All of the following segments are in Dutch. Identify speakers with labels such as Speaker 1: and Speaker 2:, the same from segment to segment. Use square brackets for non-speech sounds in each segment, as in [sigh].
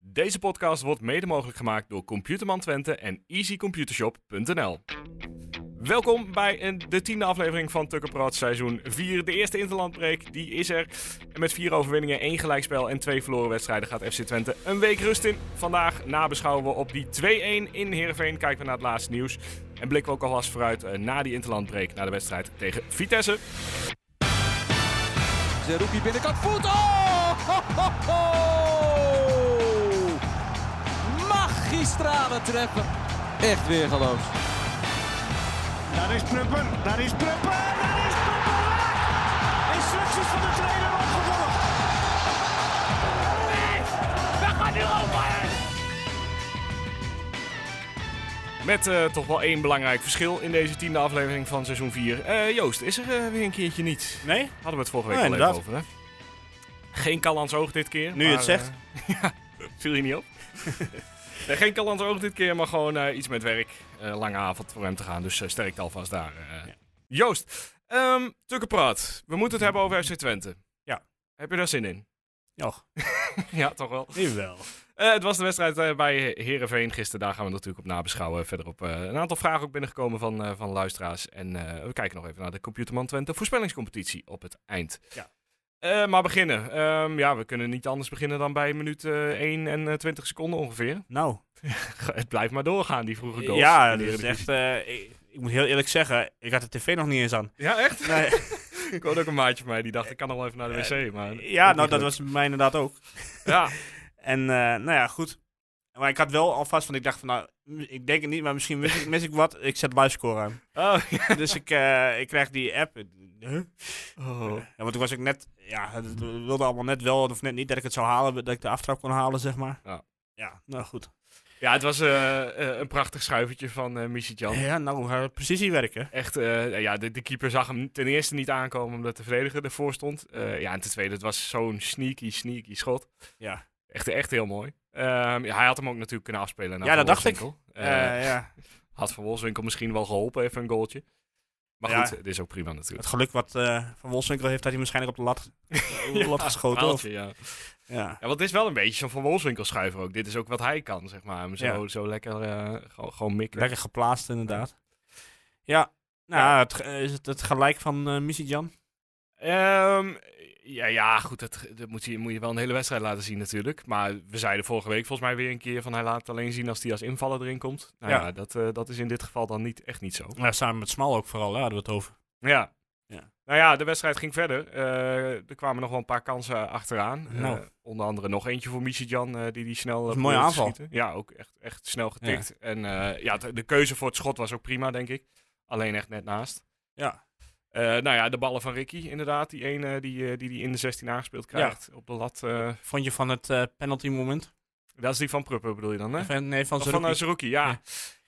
Speaker 1: Deze podcast wordt mede mogelijk gemaakt door Computerman Twente en easycomputershop.nl. Welkom bij een- de tiende aflevering van Tukker Praat seizoen 4. De eerste interlandbreek, die is er. En met vier overwinningen, één gelijkspel en twee verloren wedstrijden gaat FC Twente een week rust in. Vandaag nabeschouwen we op die 2-1 in Heerenveen. Kijken we naar het laatste nieuws. En blikken we ook alvast vooruit eh, na die interlandbreek naar de wedstrijd tegen Vitesse.
Speaker 2: Zerouki binnenkant voet. Oh! Ho, ho, ho! Magistrale treppen. Echt weer geloof.
Speaker 3: Daar is Pruppen, daar is Pruppen, daar is Pruppen! Instructies van de trainer opgevolgd.
Speaker 1: Met eh, toch wel één belangrijk verschil in deze tiende aflevering van seizoen 4. Eh, Joost, is er eh, weer een keertje niet?
Speaker 4: Nee?
Speaker 1: Hadden we het vorige week
Speaker 4: Nee,
Speaker 1: al even
Speaker 4: inderdaad.
Speaker 1: over, hè? Geen Callans oog dit keer.
Speaker 4: Nu je het
Speaker 1: maar,
Speaker 4: zegt.
Speaker 1: eh, ja, viel je niet op? nee, geen Callans oog dit keer, maar gewoon eh, iets met werk. Eh, lange avond voor hem te gaan, dus eh, sterkte alvast daar. eh. Joost, ehm Tukkenpraat. We moeten het hebben over FC Twente.
Speaker 4: Ja.
Speaker 1: Heb je daar zin
Speaker 4: [laughs]
Speaker 1: in?
Speaker 4: Och,
Speaker 1: ja, toch wel.
Speaker 4: jawel.
Speaker 1: Eh, het was de wedstrijd eh, bij Herenveen gisteren. Daar gaan we natuurlijk op nabeschouwen. Verder op eh, een aantal vragen ook binnengekomen van, eh, van luisteraars. En eh, we kijken nog even naar de Computerman Twente voorspellingscompetitie op het eind.
Speaker 4: Ja.
Speaker 1: Eh, maar beginnen. Ehm, ja, we kunnen niet anders beginnen dan bij minuut eh 1 en eh, 20 seconden ongeveer. [laughs]
Speaker 4: Nou,
Speaker 1: het blijft maar doorgaan, die vroege goals.
Speaker 4: ja,
Speaker 1: in de
Speaker 4: dat is
Speaker 1: Eredivisie.
Speaker 4: echt... eh, ik, ik moet heel eerlijk zeggen, ik had de tv nog niet eens aan.
Speaker 1: Ja, echt? [laughs]
Speaker 4: [laughs] Nee,
Speaker 1: Ik hoorde ook een maatje van mij die dacht, ik kan nog wel even naar de wc. Maar
Speaker 4: ja,
Speaker 1: ook
Speaker 4: nou,
Speaker 1: niet
Speaker 4: dat
Speaker 1: leuk.
Speaker 4: was bij mij inderdaad ook. [laughs]
Speaker 1: Ja,
Speaker 4: En, eh, nou ja, goed. Maar ik had wel alvast, want ik dacht van, nou, m- ik denk het niet, maar misschien mis ik, mis ik wat. Ik zet livescore
Speaker 1: [laughs]
Speaker 4: aan.
Speaker 1: oh, ja.
Speaker 4: Dus ik, eh, ik krijg die app. Huh?
Speaker 1: Oh.
Speaker 4: Ja, want toen was ik net, ja, het wilde allemaal net wel of net niet dat ik het zou halen, dat ik de aftrap kon halen, zeg maar.
Speaker 1: Ja.
Speaker 4: Ja, nou goed.
Speaker 1: ja, het was eh, eh, een prachtig schuivertje van eh Missy Jan.
Speaker 4: Ja, nou, eh, precisie werken.
Speaker 1: Echt, eh, ja, de, de keeper zag hem ten eerste niet aankomen omdat de verdediger ervoor stond. Eh, ja, en ten tweede, het was zo'n sneaky, sneaky schot.
Speaker 4: Ja.
Speaker 1: Echt, echt heel mooi. Ehm, ja, hij had hem ook natuurlijk kunnen afspelen naar
Speaker 4: Ja, dat
Speaker 1: Van
Speaker 4: dacht ik.
Speaker 1: Wolfswinkel. Eh,
Speaker 4: Eh, ja.
Speaker 1: had Van Wolfswinkel misschien wel geholpen, even een goaltje. Maar
Speaker 4: Ja.
Speaker 1: goed, het is ook prima natuurlijk.
Speaker 4: [laughs] Het geluk wat eh, Van Wolfswinkel heeft, dat hij waarschijnlijk op de lat, op de lat geschoten. of-
Speaker 1: Paaltje, ja.
Speaker 4: ja.
Speaker 1: ja, want het is wel een beetje zo'n Van Wolfswinkel schuiver ook. Dit is ook wat hij kan, zeg maar. Hem zo,
Speaker 4: Ja.
Speaker 1: zo lekker eh, gewoon, gewoon mikken.
Speaker 4: Lekker geplaatst, inderdaad. Ja, nou,
Speaker 1: Ja.
Speaker 4: Het, ge- is het het gelijk van eh Missy Jan?
Speaker 1: Ehm, ja, ja, goed, dat, dat moet, je, moet je wel een hele wedstrijd laten zien natuurlijk. Maar we zeiden vorige week volgens mij weer een keer van hij laat het alleen zien als hij als invaller erin komt. Nou ja,
Speaker 4: Ja.
Speaker 1: dat, eh, dat is in dit geval dan niet, echt niet zo.
Speaker 4: Ja, samen met Smal ook vooral, daar hadden we het over.
Speaker 1: Ja.
Speaker 4: Ja.
Speaker 1: Nou ja, de wedstrijd ging verder. Eh, er kwamen nog wel een paar kansen achteraan.
Speaker 4: Nou.
Speaker 1: Eh, onder andere nog eentje voor Michijan, eh die die snel... eh,
Speaker 4: een mooie
Speaker 1: probeerde te
Speaker 4: aanval.
Speaker 1: schieten. Ja, ook echt, echt snel getikt. En eh, ja, de, de keuze voor het schot was ook prima, denk ik. Alleen echt net naast.
Speaker 4: Ja.
Speaker 1: Eh, nou ja, de ballen van Ricky inderdaad. Die ene die eh, die, die in de 16 aangespeeld krijgt op de lat. eh,
Speaker 4: Vond je van het eh, penalty moment?
Speaker 1: dat is die van Pruppen bedoel je dan, hè?
Speaker 4: Of, eh, nee, van
Speaker 1: Of
Speaker 4: Zerouki.
Speaker 1: van Zerouki, ja. Ja,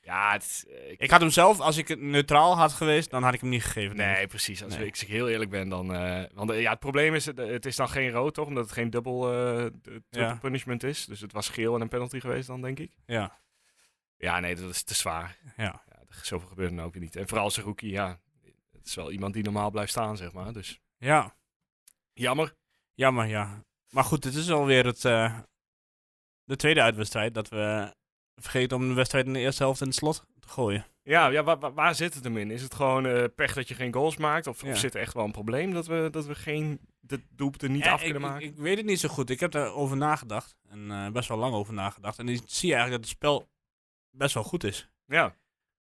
Speaker 4: Ja.
Speaker 1: het, is, eh, ik-
Speaker 4: Ik had hem zelf, als ik het neutraal had geweest, dan had ik hem niet gegeven. denk ik.
Speaker 1: nee, precies. Als
Speaker 4: Nee.
Speaker 1: ik heel eerlijk ben, dan... eh, want eh, ja, het probleem is, het, het is dan geen rood, toch? Omdat het geen dubbel eh, d- triple
Speaker 4: Ja.
Speaker 1: punishment is. Dus het was geel en een penalty geweest dan, denk ik.
Speaker 4: Ja,
Speaker 1: Ja, nee, dat is te zwaar.
Speaker 4: ja.
Speaker 1: Ja, er- zoveel gebeurde dan ook weer niet. En vooral Zerouki, ja. Het is wel iemand die normaal blijft staan, zeg maar. Dus
Speaker 4: Ja,
Speaker 1: jammer.
Speaker 4: jammer, ja. Maar goed, dit is alweer het, eh, de tweede uitwedstrijd dat we vergeten om de wedstrijd in de eerste helft in het slot te gooien.
Speaker 1: Ja, ja waar, waar- waar zit het hem in? Is het gewoon eh, pech dat je geen goals maakt? Of,
Speaker 4: Ja.
Speaker 1: of zit er echt wel een probleem dat we, dat we geen de doelpunten er niet
Speaker 4: Ja,
Speaker 1: af
Speaker 4: ik-
Speaker 1: kunnen
Speaker 4: ik,
Speaker 1: maken?
Speaker 4: Ik, weet het niet zo goed. Ik heb daarover nagedacht. En eh, best wel lang over nagedacht. En ik zie eigenlijk dat het spel best wel goed is.
Speaker 1: ja.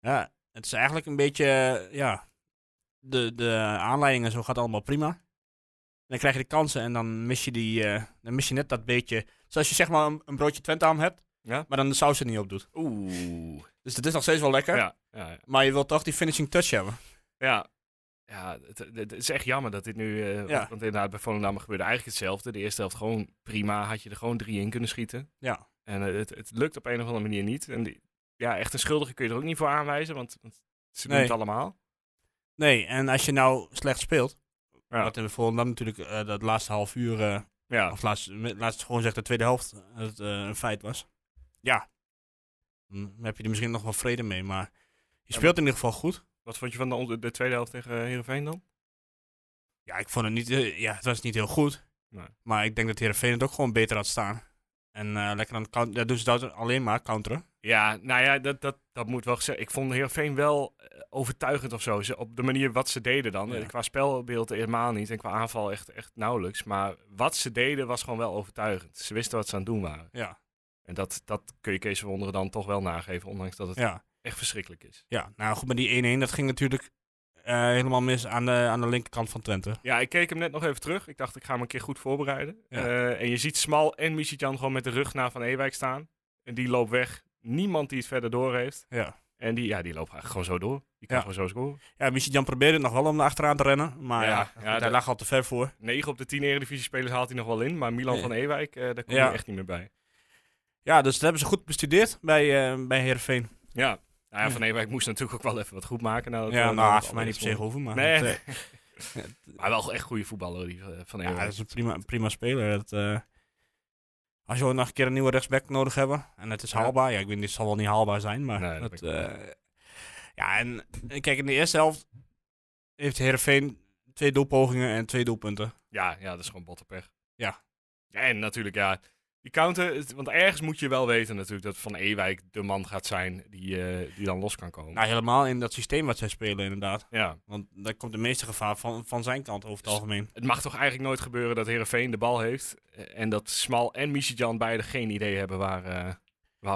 Speaker 4: Ja, het is eigenlijk een beetje, eh, ja, de, de aanleiding en zo gaat allemaal prima. En dan krijg je de kansen en dan mis je, die, eh, dan mis je net dat beetje. Zoals je zeg maar een, een broodje Twente aan hebt,
Speaker 1: Ja.
Speaker 4: maar dan de saus er niet op doet.
Speaker 1: Oeh.
Speaker 4: Dus dat is nog steeds wel lekker.
Speaker 1: Ja, ja,
Speaker 4: Maar je wilt toch die finishing touch hebben.
Speaker 1: ja. ja het, het- het is echt jammer dat dit nu... eh,
Speaker 4: Ja.
Speaker 1: Want inderdaad, bij Volendam gebeurde eigenlijk hetzelfde. De eerste helft gewoon prima. Had je er gewoon drie in kunnen schieten.
Speaker 4: Ja.
Speaker 1: En eh, het, het lukt op een of andere manier niet. En die, ja, echt een schuldige kun je er ook niet voor aanwijzen. Want, want ze doen
Speaker 4: Nee.
Speaker 1: het allemaal.
Speaker 4: Nee, en als je nou slecht speelt,
Speaker 1: Ja.
Speaker 4: wat in Volendam natuurlijk eh, dat laatste half uur eh,
Speaker 1: Ja.
Speaker 4: Of laatst, met- laatst gewoon zegt de tweede helft dat het eh, een feit was. Ja. Dan heb je er misschien nog wel vrede mee, maar je speelt in ieder geval goed.
Speaker 1: Wat vond je van de, de tweede helft tegen eh, Heerenveen dan?
Speaker 4: Ja, ik vond het niet, eh, ja, het was niet heel goed.
Speaker 1: Nee.
Speaker 4: Maar ik denk dat Heerenveen het ook gewoon beter had staan. En eh, lekker aan het counteren. Ja, doen ze dat alleen maar, counteren.
Speaker 1: Ja, nou ja, dat, dat, dat moet wel gezegd. Ik vond Heerenveen wel eh, overtuigend of zo. Ze, op de manier wat ze deden dan.
Speaker 4: Ja.
Speaker 1: Eh, Qua spelbeeld helemaal niet. En qua aanval echt, echt nauwelijks. Maar wat ze deden was gewoon wel overtuigend. Ze wisten wat ze aan het doen waren.
Speaker 4: Ja,
Speaker 1: En dat, dat kun je Kees Wonderen dan toch wel nageven. Ondanks dat het
Speaker 4: ja,
Speaker 1: echt verschrikkelijk is.
Speaker 4: ja. Nou goed, maar die 1-1, dat ging natuurlijk eh, helemaal mis aan de, aan de linkerkant van Twente.
Speaker 1: Ja, ik keek hem net nog even terug. Ik dacht, ik ga hem een keer goed voorbereiden.
Speaker 4: Ja.
Speaker 1: Eh, en je ziet Smal en Michitjan gewoon met de rug naar Van Ewijk staan. En die loopt weg. Niemand die het verder door heeft.
Speaker 4: Ja.
Speaker 1: En die, ja, die loopt eigenlijk gewoon zo door. Die kan
Speaker 4: Ja.
Speaker 1: gewoon zo scoren.
Speaker 4: Ja, misschien Jan probeerde het nog wel om er achteraan te rennen. Maar
Speaker 1: Ja,
Speaker 4: ja,
Speaker 1: ja,
Speaker 4: goed,
Speaker 1: dat-
Speaker 4: hij lag al te ver voor.
Speaker 1: 9 op de 10 Eredivisie-spelers haalt hij nog wel in. Maar Milan
Speaker 4: Nee.
Speaker 1: van Ewijk, eh, daar kom
Speaker 4: Ja.
Speaker 1: je echt niet meer bij.
Speaker 4: Ja, dus dat hebben ze goed bestudeerd bij, eh bij Heerenveen.
Speaker 1: Ja. Nou ja,
Speaker 4: Ja.
Speaker 1: Van Ewijk moest natuurlijk ook wel even wat goed maken. nadat we-
Speaker 4: Ja,
Speaker 1: nadat
Speaker 4: nou,
Speaker 1: we
Speaker 4: voor mij niet per se
Speaker 1: alles
Speaker 4: hoeven, maar...
Speaker 1: wonnen. Nee,
Speaker 4: dat, eh,
Speaker 1: nee. maar wel echt goede voetballer, die eh, Van Ewijk.
Speaker 4: Ja, dat is een prima, een prima speler. Dat, eh, als je ook nog een keer een nieuwe rechtsback nodig hebben en het is
Speaker 1: Ja.
Speaker 4: haalbaar, ja, ik weet niet, het zal wel niet haalbaar zijn, maar
Speaker 1: Nee, dat
Speaker 4: dat,
Speaker 1: ben ik-
Speaker 4: eh, ja, en eh, kijk, in de eerste helft heeft Heerenveen twee doelpogingen en twee doelpunten.
Speaker 1: Ja, ja, dat is gewoon bottenpech.
Speaker 4: Ja.
Speaker 1: Ja, En natuurlijk, ja, die counter... het- Want ergens moet je wel weten natuurlijk dat Van Ewijk de man gaat zijn die, eh, die dan los kan komen.
Speaker 4: Nou, helemaal in dat systeem wat zij spelen, inderdaad.
Speaker 1: Ja.
Speaker 4: Want daar komt de meeste gevaar van, van zijn kant over het algemeen.
Speaker 1: Het mag toch eigenlijk nooit gebeuren dat Heerenveen de bal heeft... eh, en dat Smal en Michijan beide geen idee hebben waar, eh, waar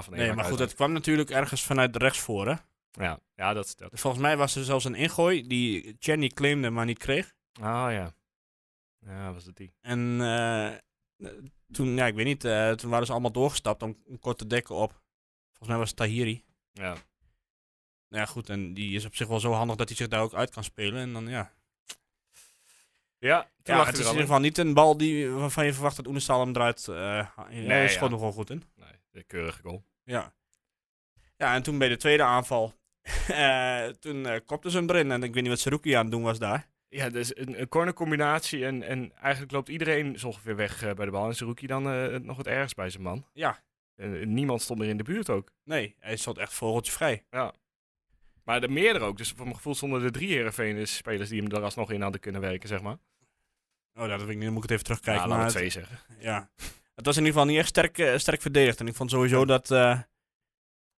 Speaker 1: Van Ewijk
Speaker 4: Nee, maar
Speaker 1: uit
Speaker 4: goed,
Speaker 1: is.
Speaker 4: dat kwam natuurlijk ergens vanuit rechts voor, hè.
Speaker 1: Ja, ja dat, dat...
Speaker 4: Volgens mij was er zelfs een ingooi die Chenny claimde, maar niet kreeg.
Speaker 1: Ah, ja. Ja, was het die.
Speaker 4: En eh, toen, ja, ik weet niet, eh, toen waren ze allemaal doorgestapt om, om kort te dekken op. Volgens mij was het Tahiri.
Speaker 1: Ja.
Speaker 4: Nou Ja, goed, en die is op zich wel zo handig dat hij zich daar ook uit kan spelen. En dan, ja.
Speaker 1: Ja, toen
Speaker 4: ja
Speaker 1: lag
Speaker 4: het
Speaker 1: hij
Speaker 4: is in
Speaker 1: er al
Speaker 4: ieder
Speaker 1: in.
Speaker 4: geval niet een bal die, waarvan je verwacht dat Oenestal hem eruit eh nee,
Speaker 1: Nee,
Speaker 4: hij schot
Speaker 1: ja.
Speaker 4: nog wel goed in.
Speaker 1: Nee, de keurige goal.
Speaker 4: Ja. Ja, en toen bij de tweede aanval, [laughs] eh, toen eh, kopten ze hem erin. En ik weet niet wat Seruki aan het doen was daar.
Speaker 1: Ja, dus een, een cornercombinatie en, en eigenlijk loopt iedereen zo ongeveer weg eh, bij de bal. En Zerouki dan eh, nog het ergst bij zijn man.
Speaker 4: Ja.
Speaker 1: En niemand stond meer in de buurt ook.
Speaker 4: Nee, hij stond echt vogeltje vrij.
Speaker 1: Maar de meerdere ook. Dus voor mijn gevoel stonden er drie Heerenveen-spelers die hem er alsnog in hadden kunnen werken, zeg maar.
Speaker 4: Oh, dat weet ik niet, dan moet ik het even terugkijken.
Speaker 1: nou,
Speaker 4: maar
Speaker 1: laten we
Speaker 4: het-
Speaker 1: twee zeggen.
Speaker 4: Ja. Het was in ieder geval niet echt sterk, eh, sterk verdedigd. En ik vond sowieso dat eh,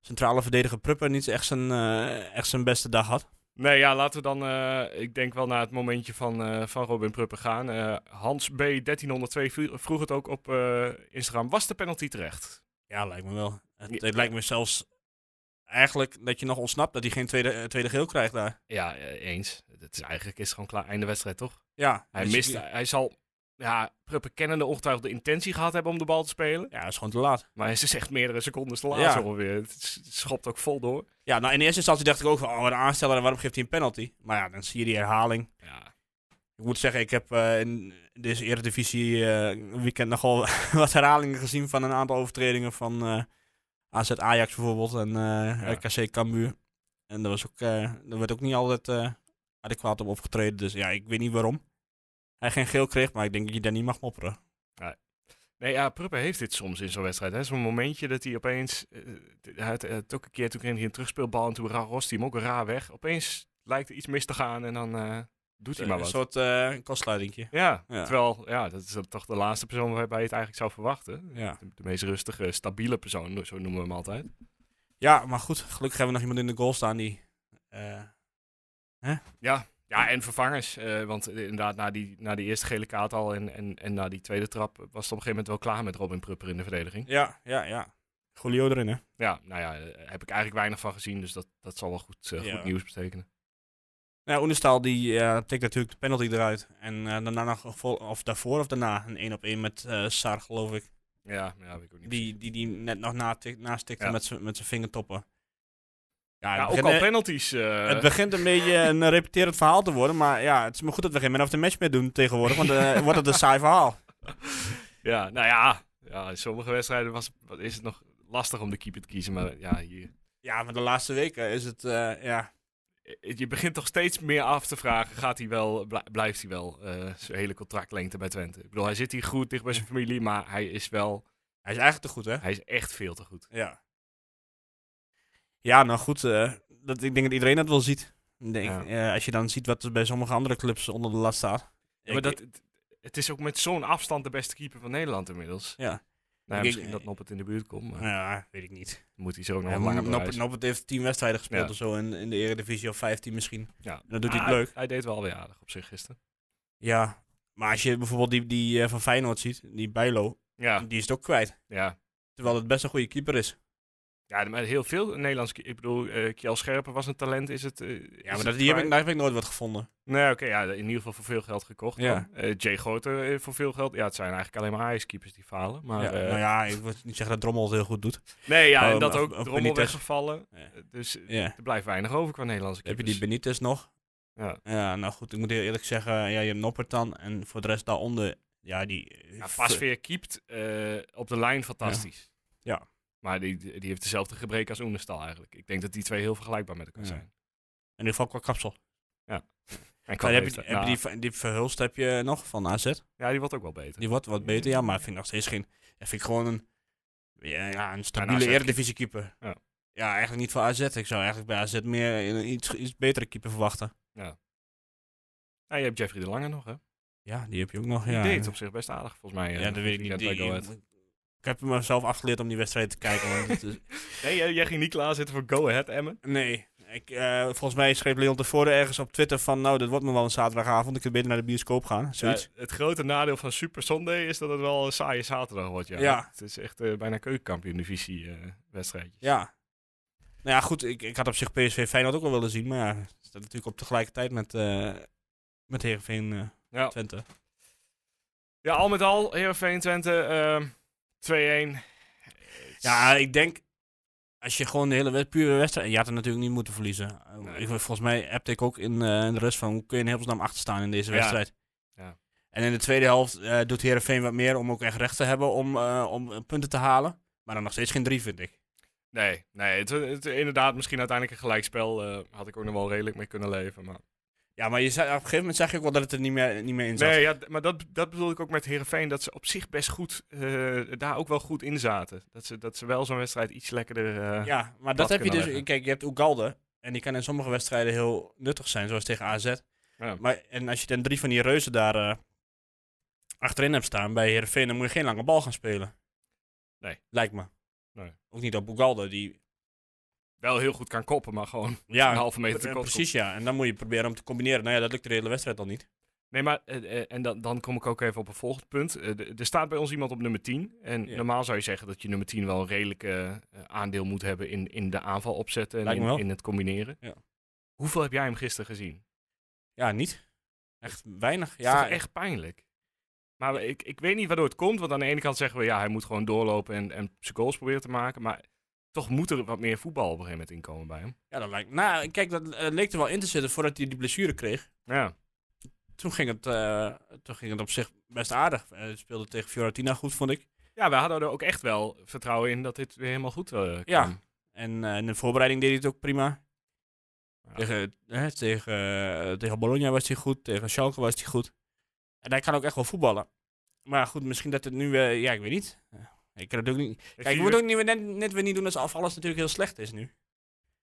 Speaker 4: centrale verdediger Pruppen niet echt zijn, eh, echt zijn beste dag had.
Speaker 1: Nee, ja, laten we dan, eh, ik denk wel naar het momentje van, eh, van Robin Pruppen gaan. Eh, Hans B. 1302 vro- vroeg het ook op eh, Instagram. Was de penalty terecht?
Speaker 4: Ja, lijkt me wel. Het,
Speaker 1: Ja.
Speaker 4: het lijkt me zelfs eigenlijk dat je nog ontsnapt dat hij geen tweede, eh, tweede geel krijgt daar.
Speaker 1: Ja, eh, eens. Het is, eigenlijk is het gewoon klaar. Einde wedstrijd, toch?
Speaker 4: Ja,
Speaker 1: Hij
Speaker 4: dus-
Speaker 1: mist, hij zal, ja, Pruppen kennende ongetwijfeld de intentie gehad hebben om de bal te spelen.
Speaker 4: Ja, dat is gewoon te laat.
Speaker 1: Maar ze zegt meerdere seconden te laat
Speaker 4: Ja.
Speaker 1: zo ongeveer. Het s- schopt ook vol door.
Speaker 4: Ja, nou in eerste instantie dacht ik ook van, oh, wat een aansteller, en waarom geeft hij een penalty? Maar ja, dan zie je die herhaling.
Speaker 1: Ja,
Speaker 4: Ik moet zeggen, ik heb eh, in deze Eredivisie eh weekend nogal [laughs] wat herhalingen gezien van een aantal overtredingen van eh, AZ Ajax bijvoorbeeld en eh,
Speaker 1: Ja.
Speaker 4: RKC Cambuur. En daar, was ook, eh daar werd ook niet altijd eh, adequaat op opgetreden, dus ja, ik weet niet waarom. Hij geen geel kreeg, maar ik denk dat je daar niet mag mopperen.
Speaker 1: Nee, ja, Pruppen heeft dit soms in zo'n wedstrijd. hè. Zo'n momentje dat hij opeens... eh, hij had eh, het ook een keer, toen kreeg hij een terugspeelbal en toen ra- rost hij hem ook raar weg. Opeens lijkt er iets mis te gaan en dan eh, doet hij maar
Speaker 4: een
Speaker 1: wat.
Speaker 4: soort eh kostsluitingje.
Speaker 1: Ja,
Speaker 4: Ja.
Speaker 1: terwijl ja, dat is dan toch de laatste persoon waarbij je het eigenlijk zou verwachten.
Speaker 4: Ja.
Speaker 1: De, de meest rustige, stabiele persoon, zo noemen we hem altijd.
Speaker 4: ja, maar goed, gelukkig hebben we nog iemand in de goal staan die... eh,
Speaker 1: Ja, ja en vervangers. eh, want inderdaad, na die, na die eerste gele kaart al en, en, en na die tweede trap was het op een gegeven moment wel klaar met Robin Prupper in de verdediging.
Speaker 4: ja, ja, ja. Julio erin, hè?
Speaker 1: Ja, nou ja, eh, heb ik eigenlijk weinig van gezien, dus dat, dat zal wel goed, eh,
Speaker 4: Ja.
Speaker 1: goed nieuws betekenen.
Speaker 4: Nou, Oenestaal die eh, tikt natuurlijk de penalty eruit. En eh, daarna nog, vol- of daarvoor of daarna, een 1 op 1 met eh Saar, geloof ik.
Speaker 1: Ja, ja weet ik ook niet.
Speaker 4: Die, die, die net nog natikt- nastikte
Speaker 1: Ja.
Speaker 4: met zijn met zijn vingertoppen. Ja,
Speaker 1: ja,
Speaker 4: het,
Speaker 1: ook
Speaker 4: begint,
Speaker 1: al
Speaker 4: eh,
Speaker 1: penalties. eh,
Speaker 4: het begint een
Speaker 1: [laughs]
Speaker 4: beetje een repeterend verhaal te worden. Maar ja, het is maar goed dat we geen man of the match meer doen tegenwoordig. Want eh, wordt het een saai verhaal.
Speaker 1: ja, nou ja, ja, in sommige wedstrijden was, wat is het nog lastig om de keeper te kiezen. Maar ja, hier,
Speaker 4: Ja, maar de laatste weken is het, eh, ja...
Speaker 1: eh, je begint toch steeds meer af te vragen, gaat hij wel, bl- blijft hij wel eh, zijn hele contractlengte bij Twente? Ik bedoel, hij zit hier goed dicht bij zijn familie, maar hij is wel,
Speaker 4: Hij is eigenlijk te goed, hè?
Speaker 1: hij is echt veel te goed.
Speaker 4: Ja. Ja, nou goed. eh, dat, ik denk dat iedereen dat wel ziet. Ik Denk,
Speaker 1: Ja.
Speaker 4: eh, als je dan ziet wat er bij sommige andere clubs onder de lat staat.
Speaker 1: Ja, maar dat, het- het is ook met zo'n afstand de beste keeper van Nederland inmiddels.
Speaker 4: Ja.
Speaker 1: Nou,
Speaker 4: Ik-
Speaker 1: misschien dat Noppert in de buurt komt, maar
Speaker 4: Ja, weet ik niet. Eh,
Speaker 1: moet hij zo nog
Speaker 4: Ja,
Speaker 1: een langer
Speaker 4: Noppert-
Speaker 1: bewijzen.
Speaker 4: Noppert heeft 10 wedstrijden gespeeld
Speaker 1: Ja.
Speaker 4: of zo in, in de Eredivisie of 15 misschien.
Speaker 1: Ja.
Speaker 4: Dat doet hij
Speaker 1: Ah,
Speaker 4: het leuk.
Speaker 1: Hij deed wel weer aardig op zich gisteren.
Speaker 4: Ja, maar als je bijvoorbeeld die, die eh, van Feyenoord ziet, die Bijlo,
Speaker 1: Ja,
Speaker 4: die is het ook kwijt.
Speaker 1: ja.
Speaker 4: Terwijl het best een goede keeper is.
Speaker 1: Ja, maar heel veel Nederlands. Ik bedoel, eh Kjell Scherpen was een talent. Is het?
Speaker 4: Ja, maar dat, die heb ik, daar heb ik nooit wat gevonden.
Speaker 1: Nee, oké, ja, in ieder geval voor veel geld gekocht.
Speaker 4: Ja.
Speaker 1: Ja. Jay Groter eh, voor veel geld. Ja, het zijn eigenlijk alleen maar Ajax-keepers die falen. Maar,
Speaker 4: ja,
Speaker 1: eh,
Speaker 4: nou ja, ik wil niet zeggen dat Drommel het heel goed doet.
Speaker 1: Nee, ja,
Speaker 4: Oh,
Speaker 1: en dat
Speaker 4: maar-
Speaker 1: ook.
Speaker 4: oh,
Speaker 1: Drommel
Speaker 4: Benitez.
Speaker 1: weggevallen.
Speaker 4: Ja.
Speaker 1: Eh, Dus eh,
Speaker 4: Ja.
Speaker 1: er blijft weinig over qua Nederlandse
Speaker 4: Heb je
Speaker 1: keepers.
Speaker 4: die Benitez nog?
Speaker 1: Dus- Ja.
Speaker 4: Ja, nou goed, ik moet heel eerlijk zeggen, ja, je hebt Noppert dan. En voor de rest daaronder, ja, die... eh,
Speaker 1: Ja, Pasveer keept eh, op de lijn fantastisch.
Speaker 4: Ja. Ja.
Speaker 1: Maar die, die heeft dezelfde gebreken als Oenestal eigenlijk. Ik denk dat die twee heel vergelijkbaar met elkaar
Speaker 4: Ja.
Speaker 1: zijn.
Speaker 4: In ieder geval qua kapsel.
Speaker 1: En qua
Speaker 4: Dan heb je,
Speaker 1: leeftijd.
Speaker 4: heb je
Speaker 1: Nou,
Speaker 4: die, van- die Verhulst heb je nog van AZ.
Speaker 1: Ja, die wordt ook wel beter.
Speaker 4: Die wordt wat beter, ja, maar vind ik nog steeds geen... ja, vind ik gewoon een, ja, ja, een stabiele
Speaker 1: AZ.
Speaker 4: eredivisiekeeper.
Speaker 1: Ja.
Speaker 4: ja, eigenlijk niet voor AZ. Ik zou eigenlijk bij AZ meer een iets, iets betere keeper verwachten.
Speaker 1: Ja, Nou, je hebt Jeffrey de Lange nog, hè?
Speaker 4: Ja, die heb je ook nog.
Speaker 1: Die
Speaker 4: Ja,
Speaker 1: deed op zich best aardig, volgens mij.
Speaker 4: Ja,
Speaker 1: eh,
Speaker 4: dat weet ik niet.
Speaker 1: weekend bij Go
Speaker 4: Die- [laughs]
Speaker 1: Ahead.
Speaker 4: ik heb mezelf afgeleerd om die wedstrijd te kijken.
Speaker 1: [laughs]
Speaker 4: want het is-
Speaker 1: Nee, jij, jij ging niet klaarzitten voor Go Ahead, Emmen.
Speaker 4: nee, ik, eh, volgens mij schreef Leon tevoren ergens op Twitter van... Nou, dat wordt me wel een zaterdagavond. Ik kan beter naar de bioscoop gaan. Zoiets.
Speaker 1: Ja, het grote nadeel van Super Sunday is dat het wel een saaie zaterdag wordt, ja.
Speaker 4: Ja.
Speaker 1: Het is echt eh, bijna keukenkampioen-divisie eh, wedstrijdjes.
Speaker 4: Ja. Nou ja, goed, ik, ik had op zich PSV Feyenoord ook wel willen zien, maar ja, het staat natuurlijk op tegelijkertijd met, eh met Heerenveen eh,
Speaker 1: Ja.
Speaker 4: Twente.
Speaker 1: Ja, al met al, Heerenveen Twente, ehm 2-1.
Speaker 4: Ja, ik denk, als je gewoon de hele wed- pure wedstrijd... en Je had het natuurlijk niet moeten verliezen. Eh,
Speaker 1: Nee.
Speaker 4: ik- volgens mij appte ik ook in eh, de rust van, hoe kun je in hemelsnaam achterstaan in deze
Speaker 1: Ja.
Speaker 4: wedstrijd?
Speaker 1: Ja.
Speaker 4: En in de tweede helft eh, doet Heerenveen wat meer om ook echt recht te hebben om, eh, om eh, punten te halen. Maar dan nog steeds geen drie, vind ik.
Speaker 1: Nee, nee het, het- inderdaad, misschien uiteindelijk een gelijkspel eh, had ik ook nog wel redelijk mee kunnen leven. Maar...
Speaker 4: Ja, maar je zei, op een gegeven moment zag je ook wel dat het er niet meer, niet meer in zat.
Speaker 1: Nee, ja, d- maar dat, dat bedoel ik ook met Heerenveen, dat ze op zich best goed, eh, daar ook wel goed in zaten. Dat ze, dat ze wel zo'n wedstrijd iets lekkerder... eh,
Speaker 4: Ja, maar
Speaker 1: plat
Speaker 4: dat heb je
Speaker 1: kunnen
Speaker 4: dus.
Speaker 1: leggen.
Speaker 4: Kijk, je hebt Oegalde. En die kan in sommige wedstrijden heel nuttig zijn, zoals tegen AZ.
Speaker 1: ja.
Speaker 4: Maar, en als je dan drie van die reuzen daar eh, achterin hebt staan bij Heerenveen, dan moet je geen lange bal gaan spelen.
Speaker 1: Nee.
Speaker 4: Lijkt me.
Speaker 1: Nee.
Speaker 4: Ook niet op Oegalde, die...
Speaker 1: Wel heel goed kan koppen, maar gewoon
Speaker 4: Ja,
Speaker 1: een halve meter te
Speaker 4: eh,
Speaker 1: kort komt.
Speaker 4: precies ja. En dan moet je proberen om te combineren. Nou ja, dat lukt de hele wedstrijd al niet.
Speaker 1: Nee, maar eh, eh, en dan, dan kom ik ook even op een volgend punt. Eh, de- er staat bij ons iemand op nummer 10. En
Speaker 4: Ja.
Speaker 1: normaal zou je zeggen dat je nummer 10 wel een redelijk eh, eh, aandeel moet hebben in, in de aanval opzetten en
Speaker 4: Lijkt me
Speaker 1: in,
Speaker 4: wel.
Speaker 1: in het combineren.
Speaker 4: Ja.
Speaker 1: Hoeveel heb jij hem gisteren gezien?
Speaker 4: Ja, niet. Echt weinig.
Speaker 1: Ja, is
Speaker 4: Ja,
Speaker 1: toch echt pijnlijk. Maar ik, ik weet niet waardoor het komt. Want aan de ene kant zeggen we, ja, hij moet gewoon doorlopen en, en zijn goals proberen te maken. Maar toch moet er wat meer voetbal op een gegeven moment inkomen bij hem.
Speaker 4: ja, dat lijkt Nou, kijk, dat eh, leek er wel in te zitten voordat hij die blessure kreeg.
Speaker 1: Ja,
Speaker 4: toen ging het, eh, toen ging het op zich best aardig. Eh, Het speelde tegen Fiorentina goed, vond ik.
Speaker 1: ja we hadden er ook echt wel vertrouwen in dat dit weer helemaal goed eh kwam.
Speaker 4: Ja. En eh, in de voorbereiding deed hij het ook prima.
Speaker 1: Ja.
Speaker 4: Tegen, hè, tegen, eh, tegen Bologna was hij goed, tegen Schalke was hij goed. En hij kan ook echt wel voetballen. Maar goed, misschien dat het nu... eh, ja, ik weet niet. Eh, Ik kan het ook niet...
Speaker 1: Ik
Speaker 4: Kijk,
Speaker 1: zie
Speaker 4: je moet ook niet, net, net weer niet doen alsof alles natuurlijk heel slecht is nu.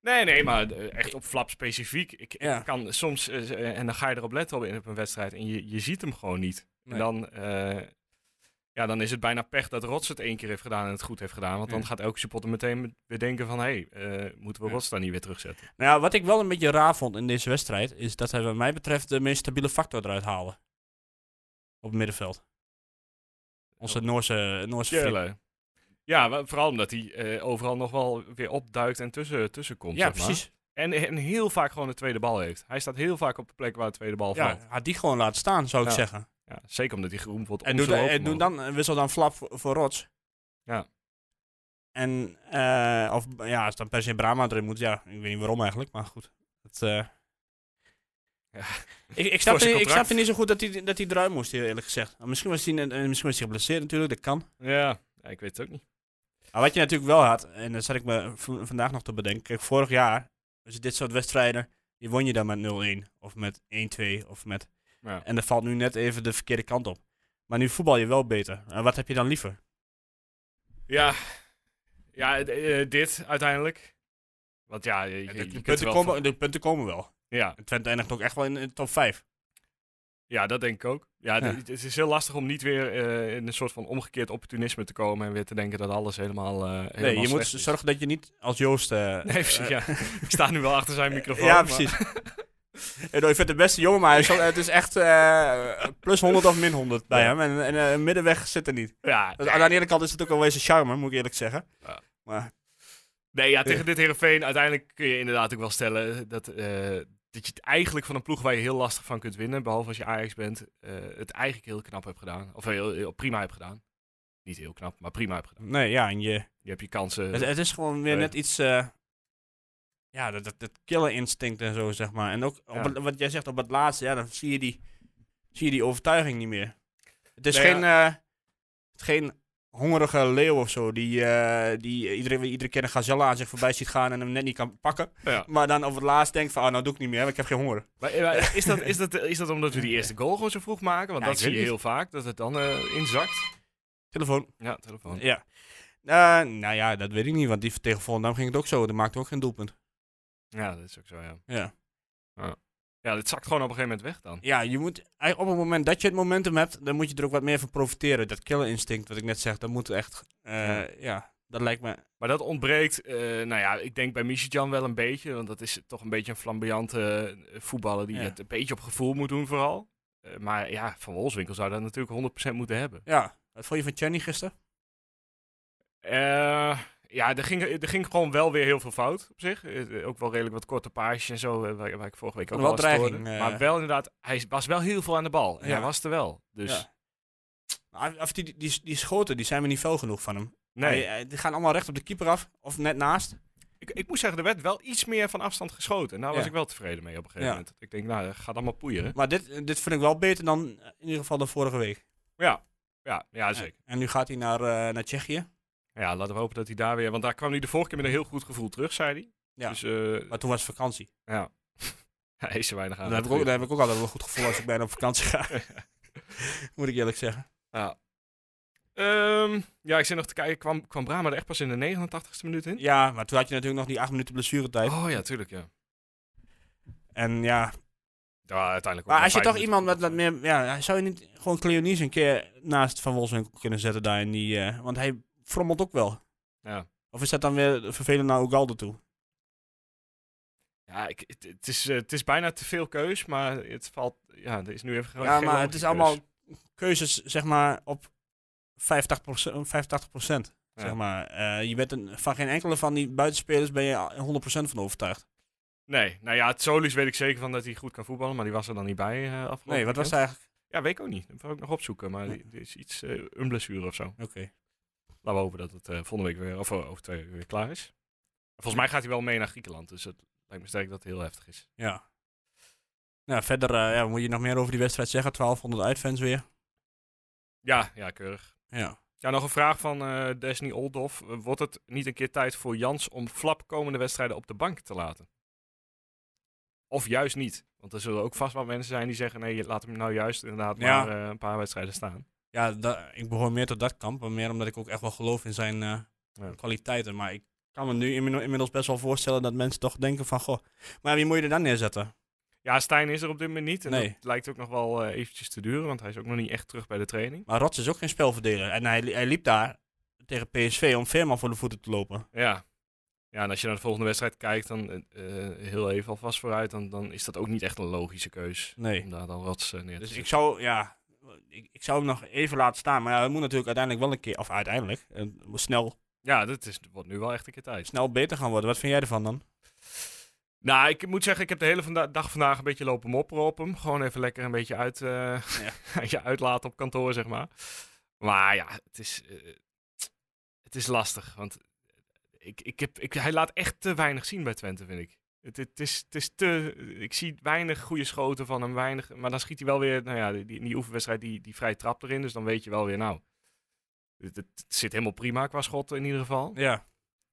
Speaker 1: Nee, nee, maar eh, echt op flap specifiek. Ik, ik
Speaker 4: Ja.
Speaker 1: kan soms, eh, z- eh, en dan ga je erop letten op, in- op een wedstrijd en je, je ziet hem gewoon niet.
Speaker 4: Nee.
Speaker 1: En dan, eh, ja, dan is het bijna pech dat Rots het één keer heeft gedaan en het goed heeft gedaan. Want dan
Speaker 4: Ja.
Speaker 1: gaat elke supporter meteen weer denken van, hé, hey, eh, moeten we
Speaker 4: Ja.
Speaker 1: Rots daar niet weer terugzetten?
Speaker 4: Nou ja, wat ik wel een beetje raar vond in deze wedstrijd... is dat hij wat mij betreft de meest stabiele factor eruit haalde. Op het middenveld. Onze Noorse, Noorse vriend.
Speaker 1: Tjelle. Ja, wa- vooral omdat hij eh, overal nog wel weer opduikt en tussen, tussen komt.
Speaker 4: Ja,
Speaker 1: zeg maar.
Speaker 4: precies.
Speaker 1: En, en heel vaak gewoon de tweede bal heeft. Hij staat heel vaak op de plek waar de tweede bal valt.
Speaker 4: Ja, had die gewoon laten staan, zou ik
Speaker 1: Ja.
Speaker 4: zeggen.
Speaker 1: Ja, zeker omdat hij geroemd wordt.
Speaker 4: En
Speaker 1: om
Speaker 4: doe,
Speaker 1: zijn
Speaker 4: dan-
Speaker 1: hoop
Speaker 4: en doe
Speaker 1: omhoog.
Speaker 4: dan, en wissel dan flap voor, voor rots.
Speaker 1: Ja.
Speaker 4: En, eh, of ja, als dan per se Brahma erin moet, ja, ik weet niet waarom eigenlijk, maar goed. Het, eh,
Speaker 1: Ja.
Speaker 4: [laughs] Ik, ik, snapte,
Speaker 1: zijn
Speaker 4: niet- ik
Speaker 1: contract.
Speaker 4: snapte niet zo goed dat hij, dat hij eruit moest, heel eerlijk gezegd. Misschien was hij, eh, misschien was hij geblesseerd natuurlijk, dat kan.
Speaker 1: Ja, ja, ik weet het ook niet.
Speaker 4: Maar wat je natuurlijk wel had, en dat zat ik me v- vandaag nog te bedenken. Kijk, vorig jaar, dus dit soort wedstrijden, die won je dan met 0-1 of met 1-2 of met...
Speaker 1: Ja.
Speaker 4: En dat valt nu net even de verkeerde kant op. Maar nu voetbal je wel beter. En wat heb je dan liever?
Speaker 1: Ja, ja d- eh, dit uiteindelijk. Want ja, je, je- je
Speaker 4: de,
Speaker 1: kunt er
Speaker 4: punten
Speaker 1: wel
Speaker 4: komen,
Speaker 1: van-
Speaker 4: de punten komen wel.
Speaker 1: Ja,
Speaker 4: En Twente eindigt ook echt wel in de top 5.
Speaker 1: Ja, dat denk ik ook. Ja,
Speaker 4: Ja.
Speaker 1: d- Het is heel lastig om niet weer eh, in een soort van omgekeerd opportunisme te komen en weer te denken dat alles helemaal. eh,
Speaker 4: Nee,
Speaker 1: helemaal
Speaker 4: je moet
Speaker 1: slecht is.
Speaker 4: zorgen dat je niet als Joost... eh,
Speaker 1: [laughs] Nee, precies.
Speaker 4: eh,
Speaker 1: Ja. ik sta nu wel achter zijn microfoon.
Speaker 4: [laughs] ja,
Speaker 1: maar-
Speaker 4: precies. En Ik vind de beste jongen, maar hij is wel- het is echt eh, plus 100 of min 100 bij
Speaker 1: Ja.
Speaker 4: hem. En, en eh, middenweg zit er niet.
Speaker 1: Ja,
Speaker 4: Dus aan de ene kant is het ook wel weer zijn charme, moet ik eerlijk zeggen.
Speaker 1: Ja.
Speaker 4: Maar
Speaker 1: nee, ja, tegen dit Herenveen uiteindelijk kun je inderdaad ook wel stellen dat, eh, dat je het eigenlijk van een ploeg waar je heel lastig van kunt winnen, behalve als je Ajax bent, eh, het eigenlijk heel knap hebt gedaan. Of heel, heel prima hebt gedaan. Niet heel knap, maar prima hebt gedaan.
Speaker 4: nee, ja, en je,
Speaker 1: Je hebt je kansen.
Speaker 4: het, het is gewoon weer
Speaker 1: Nee.
Speaker 4: net iets... eh, ja, dat, dat, dat killer instinct en zo, zeg maar. En ook, op
Speaker 1: Ja.
Speaker 4: het- wat jij zegt op het laatste, ja, dan zie je die, zie je die overtuiging niet meer. Het is
Speaker 1: Nee,
Speaker 4: geen, eh, het is geen hongerige leeuw of zo, die, eh, die iedere, iedere keer een gazelle aan zich voorbij ziet gaan en hem net niet kan pakken.
Speaker 1: Ja.
Speaker 4: Maar dan op het laatst denk van, ah, nou doe ik niet meer, want ik heb geen honger.
Speaker 1: Maar, maar is, dat, is, dat, is dat omdat we die eerste goal gewoon zo vroeg maken? Want
Speaker 4: Ja,
Speaker 1: dat
Speaker 4: ik
Speaker 1: zie je
Speaker 4: weet het
Speaker 1: heel vaak, dat het dan eh, inzakt.
Speaker 4: Telefoon.
Speaker 1: Ja, telefoon.
Speaker 4: Ja. Eh, nou ja, dat weet ik niet, want die tegen Volendam ging het ook zo. Die maakte ook geen doelpunt.
Speaker 1: Ja, dat is ook zo, ja.
Speaker 4: Ja,
Speaker 1: Ja, dat zakt gewoon op een gegeven moment weg dan.
Speaker 4: ja je moet, eigenlijk op het moment dat je het momentum hebt, dan moet je er ook wat meer van profiteren. Dat killer instinct wat ik net zeg, dat moet echt, eh,
Speaker 1: Ja.
Speaker 4: ja, dat lijkt me
Speaker 1: Maar dat ontbreekt, eh, nou ja, ik denk bij Michijan wel een beetje. Want dat is toch een beetje een flamboyante eh, voetballer die
Speaker 4: Ja.
Speaker 1: het een beetje op gevoel moet doen vooral. Eh, maar ja, Van Wolfswinkel zou dat natuurlijk 100% moeten hebben.
Speaker 4: Ja, wat vond je van Chenny gisteren?
Speaker 1: Eh, ja, er ging, er ging gewoon wel weer heel veel fout op zich. Eh, ook wel redelijk wat korte paasjes en zo, eh, waar, waar ik vorige week ook
Speaker 4: Wel
Speaker 1: wel eens
Speaker 4: dreiging,
Speaker 1: hoorde.
Speaker 4: eh.
Speaker 1: Maar wel inderdaad, hij was wel heel veel aan de bal. En
Speaker 4: Ja.
Speaker 1: hij was er wel. Dus
Speaker 4: Ja. Maar Nou, Of die, die, die schoten, die zijn me niet fel genoeg van hem.
Speaker 1: nee,
Speaker 4: Hij- hij- die gaan allemaal recht op de keeper af, of net naast.
Speaker 1: eh, ik, ik moet zeggen, er werd wel iets meer van afstand geschoten. En daar was
Speaker 4: Ja.
Speaker 1: ik wel tevreden mee op een gegeven
Speaker 4: Ja.
Speaker 1: moment. Ik denk, nou, dat gaat allemaal poeieren.
Speaker 4: Maar dit, dit vind ik wel beter dan eh, in ieder geval dan vorige week.
Speaker 1: Ja, ja zeker.
Speaker 4: En nu gaat hij naar, eh, naar Tsjechië.
Speaker 1: Ja, laten we hopen dat hij daar weer... Want daar kwam hij de vorige keer met een heel goed gevoel terug, zei hij.
Speaker 4: Ja.
Speaker 1: Dus eh,
Speaker 4: Maar toen was het vakantie.
Speaker 1: ja. [laughs] hij is er weinig aan.
Speaker 4: Dan heb, ik ook, dan heb ik ook altijd wel een goed gevoel als ik bijna op vakantie
Speaker 1: [laughs]
Speaker 4: ga. Moet ik eerlijk zeggen.
Speaker 1: Ja. Ehm, ja, ik zit nog te kijken. Kwam, kwam Brahma er echt pas in de 89ste minuut in?
Speaker 4: Ja, maar toen had je natuurlijk nog die acht minuten blessuretijd.
Speaker 1: Oh ja, tuurlijk, ja.
Speaker 4: En ja,
Speaker 1: ja uiteindelijk ook
Speaker 4: maar
Speaker 1: nog
Speaker 4: als je
Speaker 1: vijf
Speaker 4: toch
Speaker 1: minuten
Speaker 4: iemand met
Speaker 1: goed.
Speaker 4: wat meer... Ja, zou je niet gewoon Cleonice een keer naast Van Wolfswinkel kunnen zetten daar in die... eh, want hij frommelt ook wel.
Speaker 1: Ja.
Speaker 4: Of is dat dan weer vervelend naar Ugalde toe?
Speaker 1: Ja, ik, het, het is, eh, het is bijna te veel keus, maar het valt... Ja, er is nu even gewoon
Speaker 4: ja,
Speaker 1: geen
Speaker 4: maar het
Speaker 1: logische
Speaker 4: is
Speaker 1: keus.
Speaker 4: allemaal keuzes, zeg maar, op 85 85 Zeg maar. Eh, je bent een, van geen enkele van die buitenspelers ben je al 100 van overtuigd.
Speaker 1: Nee, nou ja, het Solis weet ik zeker van dat hij goed kan voetballen, maar die was er dan niet bij eh, afgelopen
Speaker 4: Nee, wat
Speaker 1: weekend.
Speaker 4: was dat eigenlijk?
Speaker 1: Ja, weet ik ook niet. Dat wil ik nog opzoeken, maar
Speaker 4: Ja.
Speaker 1: die- die is iets, eh, een blessure of zo.
Speaker 4: Oké.
Speaker 1: Laten we hopen dat het eh, volgende week weer, of eh, over twee weken weer klaar is. Volgens mij gaat hij wel mee naar Griekenland, dus het lijkt me sterk dat het heel heftig is.
Speaker 4: Ja. Nou, verder eh, ja, moet je nog meer over die wedstrijd zeggen. 1200 uitfans weer.
Speaker 1: Ja, ja, keurig.
Speaker 4: Ja.
Speaker 1: Ja, nog een vraag van eh Desney Oldoff. Eh, Wordt het niet een keer tijd voor Jans om Flap komende wedstrijden op de bank te laten? Of juist niet? Want er zullen ook vast wel mensen zijn die zeggen, nee, je laat hem nou juist inderdaad
Speaker 4: Ja.
Speaker 1: maar eh, een paar wedstrijden staan.
Speaker 4: Ja, da- ik behoor meer tot dat kamp. Maar meer omdat ik ook echt wel geloof in zijn eh,
Speaker 1: Ja.
Speaker 4: kwaliteiten. Maar ik kan me nu inmi- inmiddels best wel voorstellen dat mensen toch denken van... Goh, maar wie moet je er dan neerzetten?
Speaker 1: Ja, Stijn is er op dit moment niet. En
Speaker 4: Nee.
Speaker 1: dat lijkt ook nog wel eh, eventjes te duren, want hij is ook nog niet echt terug bij de training.
Speaker 4: Maar Rots is ook geen spelverdeler. En hij, li- hij liep daar tegen PSV om Veerman voor de voeten te lopen.
Speaker 1: Ja. Ja, en als je naar de volgende wedstrijd kijkt, dan eh, eh, heel even alvast vooruit, dan, dan is dat ook niet echt een logische keus
Speaker 4: Nee.
Speaker 1: om daar dan rots eh, neer te
Speaker 4: Dus ik
Speaker 1: zetten.
Speaker 4: zou, ja, ik, ik zou hem nog even laten staan. Maar ja, hij moet natuurlijk uiteindelijk wel een keer... Of uiteindelijk, eh, snel,
Speaker 1: Ja, dat is, wordt nu wel echt een keer tijd.
Speaker 4: snel beter gaan worden. Wat vind jij ervan dan?
Speaker 1: Nou, ik moet zeggen, ik heb de hele vanda- dag vandaag een beetje lopen mopperen op hem. Gewoon even lekker een beetje uit, eh, [laughs] je uitlaten op kantoor, zeg maar. Maar ja, het is, eh, het is lastig. Want ik, ik heb, ik, hij laat echt te weinig zien bij Twente, vind ik. Het, het, is, het is te... Ik zie weinig goede schoten van hem, weinig... Maar dan schiet hij wel weer... Nou ja, die, die, in die oefenwedstrijd, die, die vrij trap erin. Dus dan weet je wel weer, nou... Het, het- het zit helemaal prima qua schotten in ieder geval.
Speaker 4: Ja.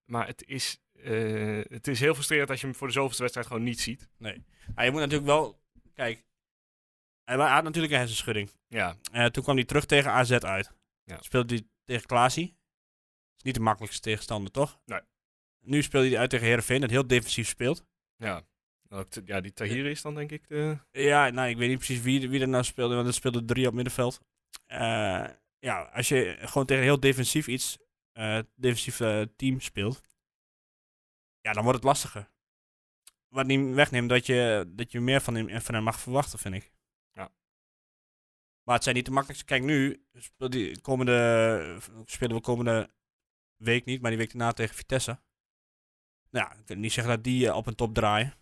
Speaker 1: Maar het is, eh, het is heel frustrerend als je hem voor de zoveelste wedstrijd gewoon niet ziet.
Speaker 4: Hij moet natuurlijk wel... Kijk, hij wa- hij had natuurlijk een hersenschudding.
Speaker 1: Ja,
Speaker 4: Eh, toen kwam hij terug tegen AZ uit.
Speaker 1: Ja.
Speaker 4: Speelde hij tegen Klaasie. Is niet de makkelijkste tegenstander, toch?
Speaker 1: Nee.
Speaker 4: Nu speelde hij uit tegen Heerenveen, dat heel defensief speelt.
Speaker 1: ja. Nou, t- Ja, die Tahiri is dan denk ik de...
Speaker 4: Ja, nou, ik weet niet precies wie, wie er nou speelde, want er speelden drie op middenveld. Eh, ja, als je gewoon tegen heel defensief iets, eh, defensief eh, team speelt, ja, dan wordt het lastiger. Wat niet wegneemt dat je, dat je meer van hem, van hem mag verwachten, vind ik.
Speaker 1: Ja.
Speaker 4: Maar het zijn niet de makkelijkste. Kijk, nu speelt die komende, spelen we komende week niet, maar die week daarna tegen Vitesse. Nou, ja, ik kan niet zeggen dat die eh, op een top draaien.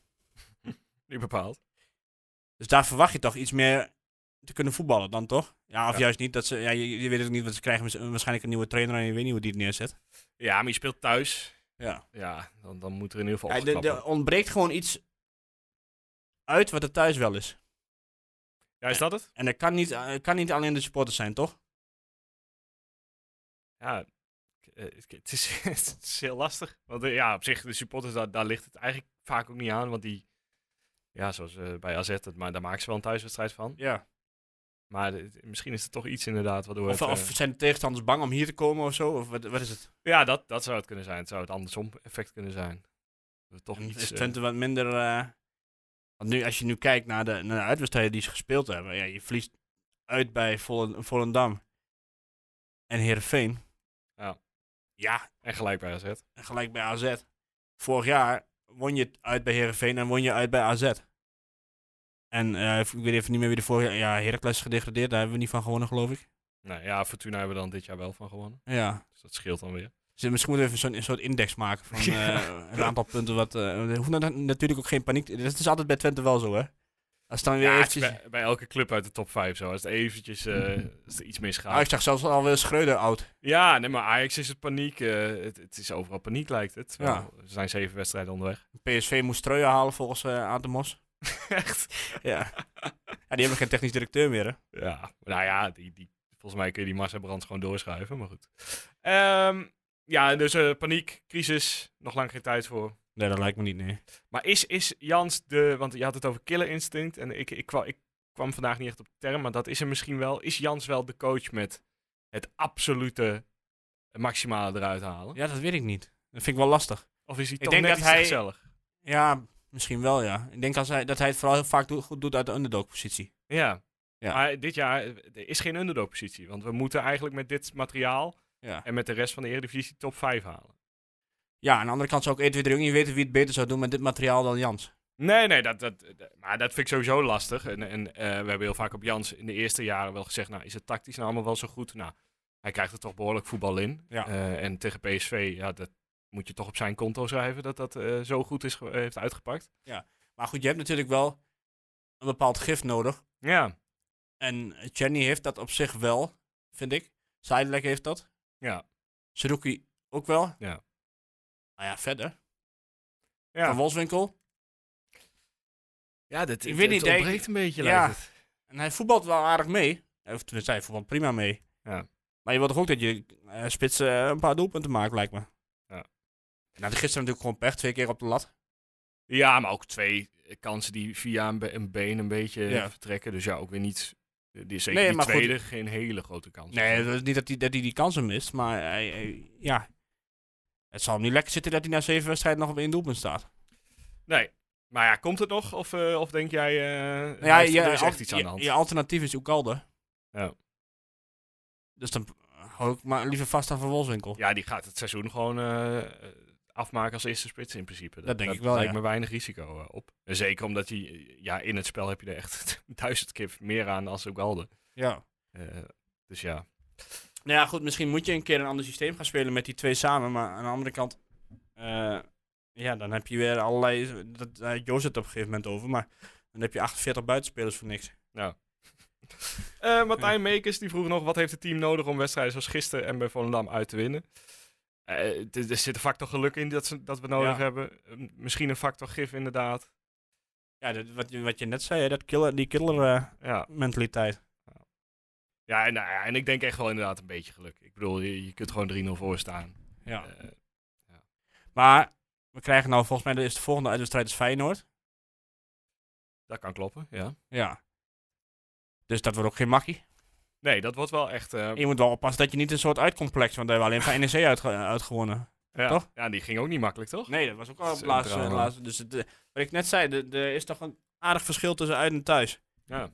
Speaker 1: Niet bepaald.
Speaker 4: Dus daar verwacht je toch iets meer te kunnen voetballen dan toch? Ja, of
Speaker 1: Ja.
Speaker 4: juist niet. Dat ze, ja, je, je weet het niet, want ze krijgen mis- waarschijnlijk een nieuwe trainer en je weet niet hoe die het neerzet.
Speaker 1: Ja, maar je speelt thuis.
Speaker 4: Ja.
Speaker 1: Ja, dan, dan moet er in ieder geval
Speaker 4: Ja, de-
Speaker 1: opgeknappen.
Speaker 4: er ontbreekt gewoon iets uit wat er thuis wel is.
Speaker 1: Ja, is dat het?
Speaker 4: En dat kan niet, eh, kan niet alleen de supporters zijn, toch?
Speaker 1: Ja, ik- eh, ik- het is, [laughs] het is heel lastig. Want eh, ja, op zich, de supporters, daar, daar ligt het eigenlijk vaak ook niet aan. Want die, ja, zoals eh, bij AZ, dat, maar daar maken ze wel een thuiswedstrijd van.
Speaker 4: Ja.
Speaker 1: Maar de- misschien is er toch iets inderdaad waardoor
Speaker 4: Of,
Speaker 1: het...
Speaker 4: of
Speaker 1: eh,
Speaker 4: zijn de tegenstanders bang om hier te komen of zo? Of wat, wat is het?
Speaker 1: ja, dat, dat zou het kunnen zijn. Het zou het andersom effect kunnen zijn. Dat er toch
Speaker 4: En
Speaker 1: iets...
Speaker 4: is
Speaker 1: eh,
Speaker 4: Twente wat minder... eh, want nu, als je nu kijkt naar de, naar de uitwedstrijden die ze gespeeld hebben. Ja, je verliest uit bij Vollen- Volendam en Heerenveen.
Speaker 1: Ja.
Speaker 4: Ja,
Speaker 1: en gelijk bij AZ.
Speaker 4: En gelijk bij AZ. Vorig jaar won je uit bij Herenveen en won je uit bij AZ. En eh, ik weet even niet meer wie de vorige... Ja, Heracles is gedegradeerd. Daar hebben we niet van gewonnen, geloof ik.
Speaker 1: Nou ja, Fortuna hebben we dan dit jaar wel van gewonnen.
Speaker 4: Ja.
Speaker 1: Dus dat scheelt dan weer.
Speaker 4: Dus misschien moeten we even zo'n een soort index maken [laughs] van
Speaker 1: Ja.
Speaker 4: eh, een aantal punten. Wat, eh, er hoeft na- natuurlijk ook geen paniek... te- Dat is altijd bij Twente wel zo, hè? Als dan weer
Speaker 1: Ja, het is
Speaker 4: eventjes...
Speaker 1: bij, bij elke club uit de top 5 zo. Als het eventjes [laughs] eh, als er iets misgaat.
Speaker 4: Ah, ik zag zelfs alweer Schreuder oud.
Speaker 1: Ja, nee, maar Ajax is het paniek. eh, het, het is overal paniek, lijkt het.
Speaker 4: Ja.
Speaker 1: Wel, Er zijn zeven wedstrijden onderweg.
Speaker 4: PSV moest Schreuder halen volgens eh Atemos.
Speaker 1: [laughs] Echt?
Speaker 4: Ja. [laughs] ja, die hebben geen technisch directeur meer, hè?
Speaker 1: Ja, nou ja, die, die, volgens mij kun je die Marcel Brands gewoon doorschuiven, maar goed. Ehm, ja, dus eh, paniek, crisis, nog lang geen tijd voor.
Speaker 4: Nee, dat lijkt me niet, nee.
Speaker 1: Maar is, is Jans de, want je had het over killer instinct en ik, ik, kwam, ik kwam vandaag niet echt op de term, maar dat is er misschien wel. Is Jans wel de coach met het absolute maximale eruit halen?
Speaker 4: Ja, dat weet ik niet. Dat vind ik wel lastig.
Speaker 1: Of is hij
Speaker 4: Ik
Speaker 1: toch
Speaker 4: denk
Speaker 1: net
Speaker 4: dat
Speaker 1: iets
Speaker 4: hij-
Speaker 1: te gezellig?
Speaker 4: Ja, misschien wel, ja. Ik denk als hij, dat hij het vooral heel vaak doet- goed doet uit de underdog-positie.
Speaker 1: Ja.
Speaker 4: Ja.
Speaker 1: Maar dit jaar eh, er is geen underdog-positie. Want we moeten eigenlijk met dit materiaal
Speaker 4: Ja.
Speaker 1: en met de rest van de Eredivisie top 5 halen.
Speaker 4: ja, aan de andere kant zou ook 1, 2, 3 ook niet weten wie het beter zou doen met dit materiaal dan Jans.
Speaker 1: Nee, nee, dat, dat, eh, dat- maar dat vind ik sowieso lastig. En, en eh, we hebben heel vaak op Jans in de eerste jaren wel gezegd... nou, is het tactisch nou allemaal wel zo goed? Nou, hij krijgt er toch behoorlijk voetbal in.
Speaker 4: Ja.
Speaker 1: Eh, en tegen PSV, ja, dat moet je toch op zijn konto schrijven... dat dat eh, zo goed is, ge- heeft uitgepakt.
Speaker 4: Maar goed, je hebt natuurlijk wel een bepaald gif nodig.
Speaker 1: Ja,
Speaker 4: En Chenny heeft dat op zich wel, vind ik. Zijdelijk heeft dat.
Speaker 1: ja,
Speaker 4: Saruki ook wel.
Speaker 1: Ja.
Speaker 4: Nou ja, verder. Van
Speaker 1: ja.
Speaker 4: Wolfswinkel.
Speaker 1: Ja, dat,
Speaker 4: Ik weet niet, denk-
Speaker 1: een beetje,
Speaker 4: Ja.
Speaker 1: lijkt het.
Speaker 4: En hij voetbalt wel aardig mee. Of tenminste, hij voetbalt prima mee.
Speaker 1: Ja.
Speaker 4: Maar je wilt toch ook dat je eh, spits eh, een paar doelpunten maakt, lijkt me.
Speaker 1: Ja.
Speaker 4: En had hij gisteren natuurlijk gewoon pech, twee keer op de lat.
Speaker 1: Ja, maar ook twee eh, kansen die via een, be- een been een beetje eh,
Speaker 4: Ja.
Speaker 1: vertrekken. Dus ja, ook weer niet... eh, Die, zeker
Speaker 4: Nee,
Speaker 1: die
Speaker 4: maar goed.
Speaker 1: tweede, geen hele grote kans.
Speaker 4: Nee, dat is niet dat hij, dat hij die kansen mist, maar hij, hij- ja. Het zal hem niet lekker zitten dat hij na zeven wedstrijden nog op één doelpunt staat.
Speaker 1: nee. Maar ja, komt het nog? Of, eh, of denk jij... eh
Speaker 4: Nou ja,
Speaker 1: hij heeft-
Speaker 4: je,
Speaker 1: er is echt
Speaker 4: al-
Speaker 1: iets aan
Speaker 4: je-
Speaker 1: de hand.
Speaker 4: je alternatief is Oekalde.
Speaker 1: Ja.
Speaker 4: Dus dan hou ik maar liever vast aan Van Wolfswinkel.
Speaker 1: Ja, die gaat het seizoen gewoon eh, eh, afmaken als eerste spits in principe. Dat,
Speaker 4: denk ik wel,
Speaker 1: lijkt
Speaker 4: ja.
Speaker 1: me weinig risico eh, op. En zeker omdat hij... eh, Ja, in het spel heb je er echt [laughs] duizend keer meer aan als Ugalde.
Speaker 4: Ja. Nou
Speaker 1: Eh dus ja.
Speaker 4: ja, goed, misschien moet je een keer een ander systeem gaan spelen met die twee samen, maar aan de andere kant... eh, ja, dan heb je weer allerlei... Dat, daar had Joost het op een gegeven moment over, maar dan heb je 48 buitenspelers voor niks.
Speaker 1: Eh, Martijn Meekers die vroeg nog: wat heeft het team nodig om wedstrijden zoals gisteren en bij Volendam uit te winnen? Eh, d- er zit een factor geluk in dat, ze, dat we nodig
Speaker 4: Ja.
Speaker 1: hebben. Eh, misschien een factor gif, inderdaad.
Speaker 4: Ja, dat, wat, je- wat je net zei, hè, dat killer, die killer eh,
Speaker 1: Ja,
Speaker 4: mentaliteit.
Speaker 1: ja en, nou ja, en ik denk echt wel inderdaad een beetje geluk. Ik bedoel, je, je kunt gewoon 3-0 voor staan.
Speaker 4: Ja.
Speaker 1: Eh,
Speaker 4: Maar we krijgen nou volgens mij de, is de volgende uitwedstrijd is Feyenoord.
Speaker 1: dat kan kloppen, ja.
Speaker 4: Ja. Dus dat wordt ook geen makkie.
Speaker 1: Nee, dat wordt wel echt. eh,
Speaker 4: Je moet wel oppassen dat je niet een soort uitcomplex, want daar hebben we alleen van NEC uitge- uitgewonnen.
Speaker 1: Ja.
Speaker 4: Toch?
Speaker 1: Ja, die ging ook niet makkelijk, toch?
Speaker 4: Nee, dat was ook al op
Speaker 1: is
Speaker 4: het
Speaker 1: een
Speaker 4: laatste.
Speaker 1: drama.
Speaker 4: laatste- dus het, eh, wat ik net zei, er- er is toch een aardig verschil tussen uit en thuis.
Speaker 1: Ja. Het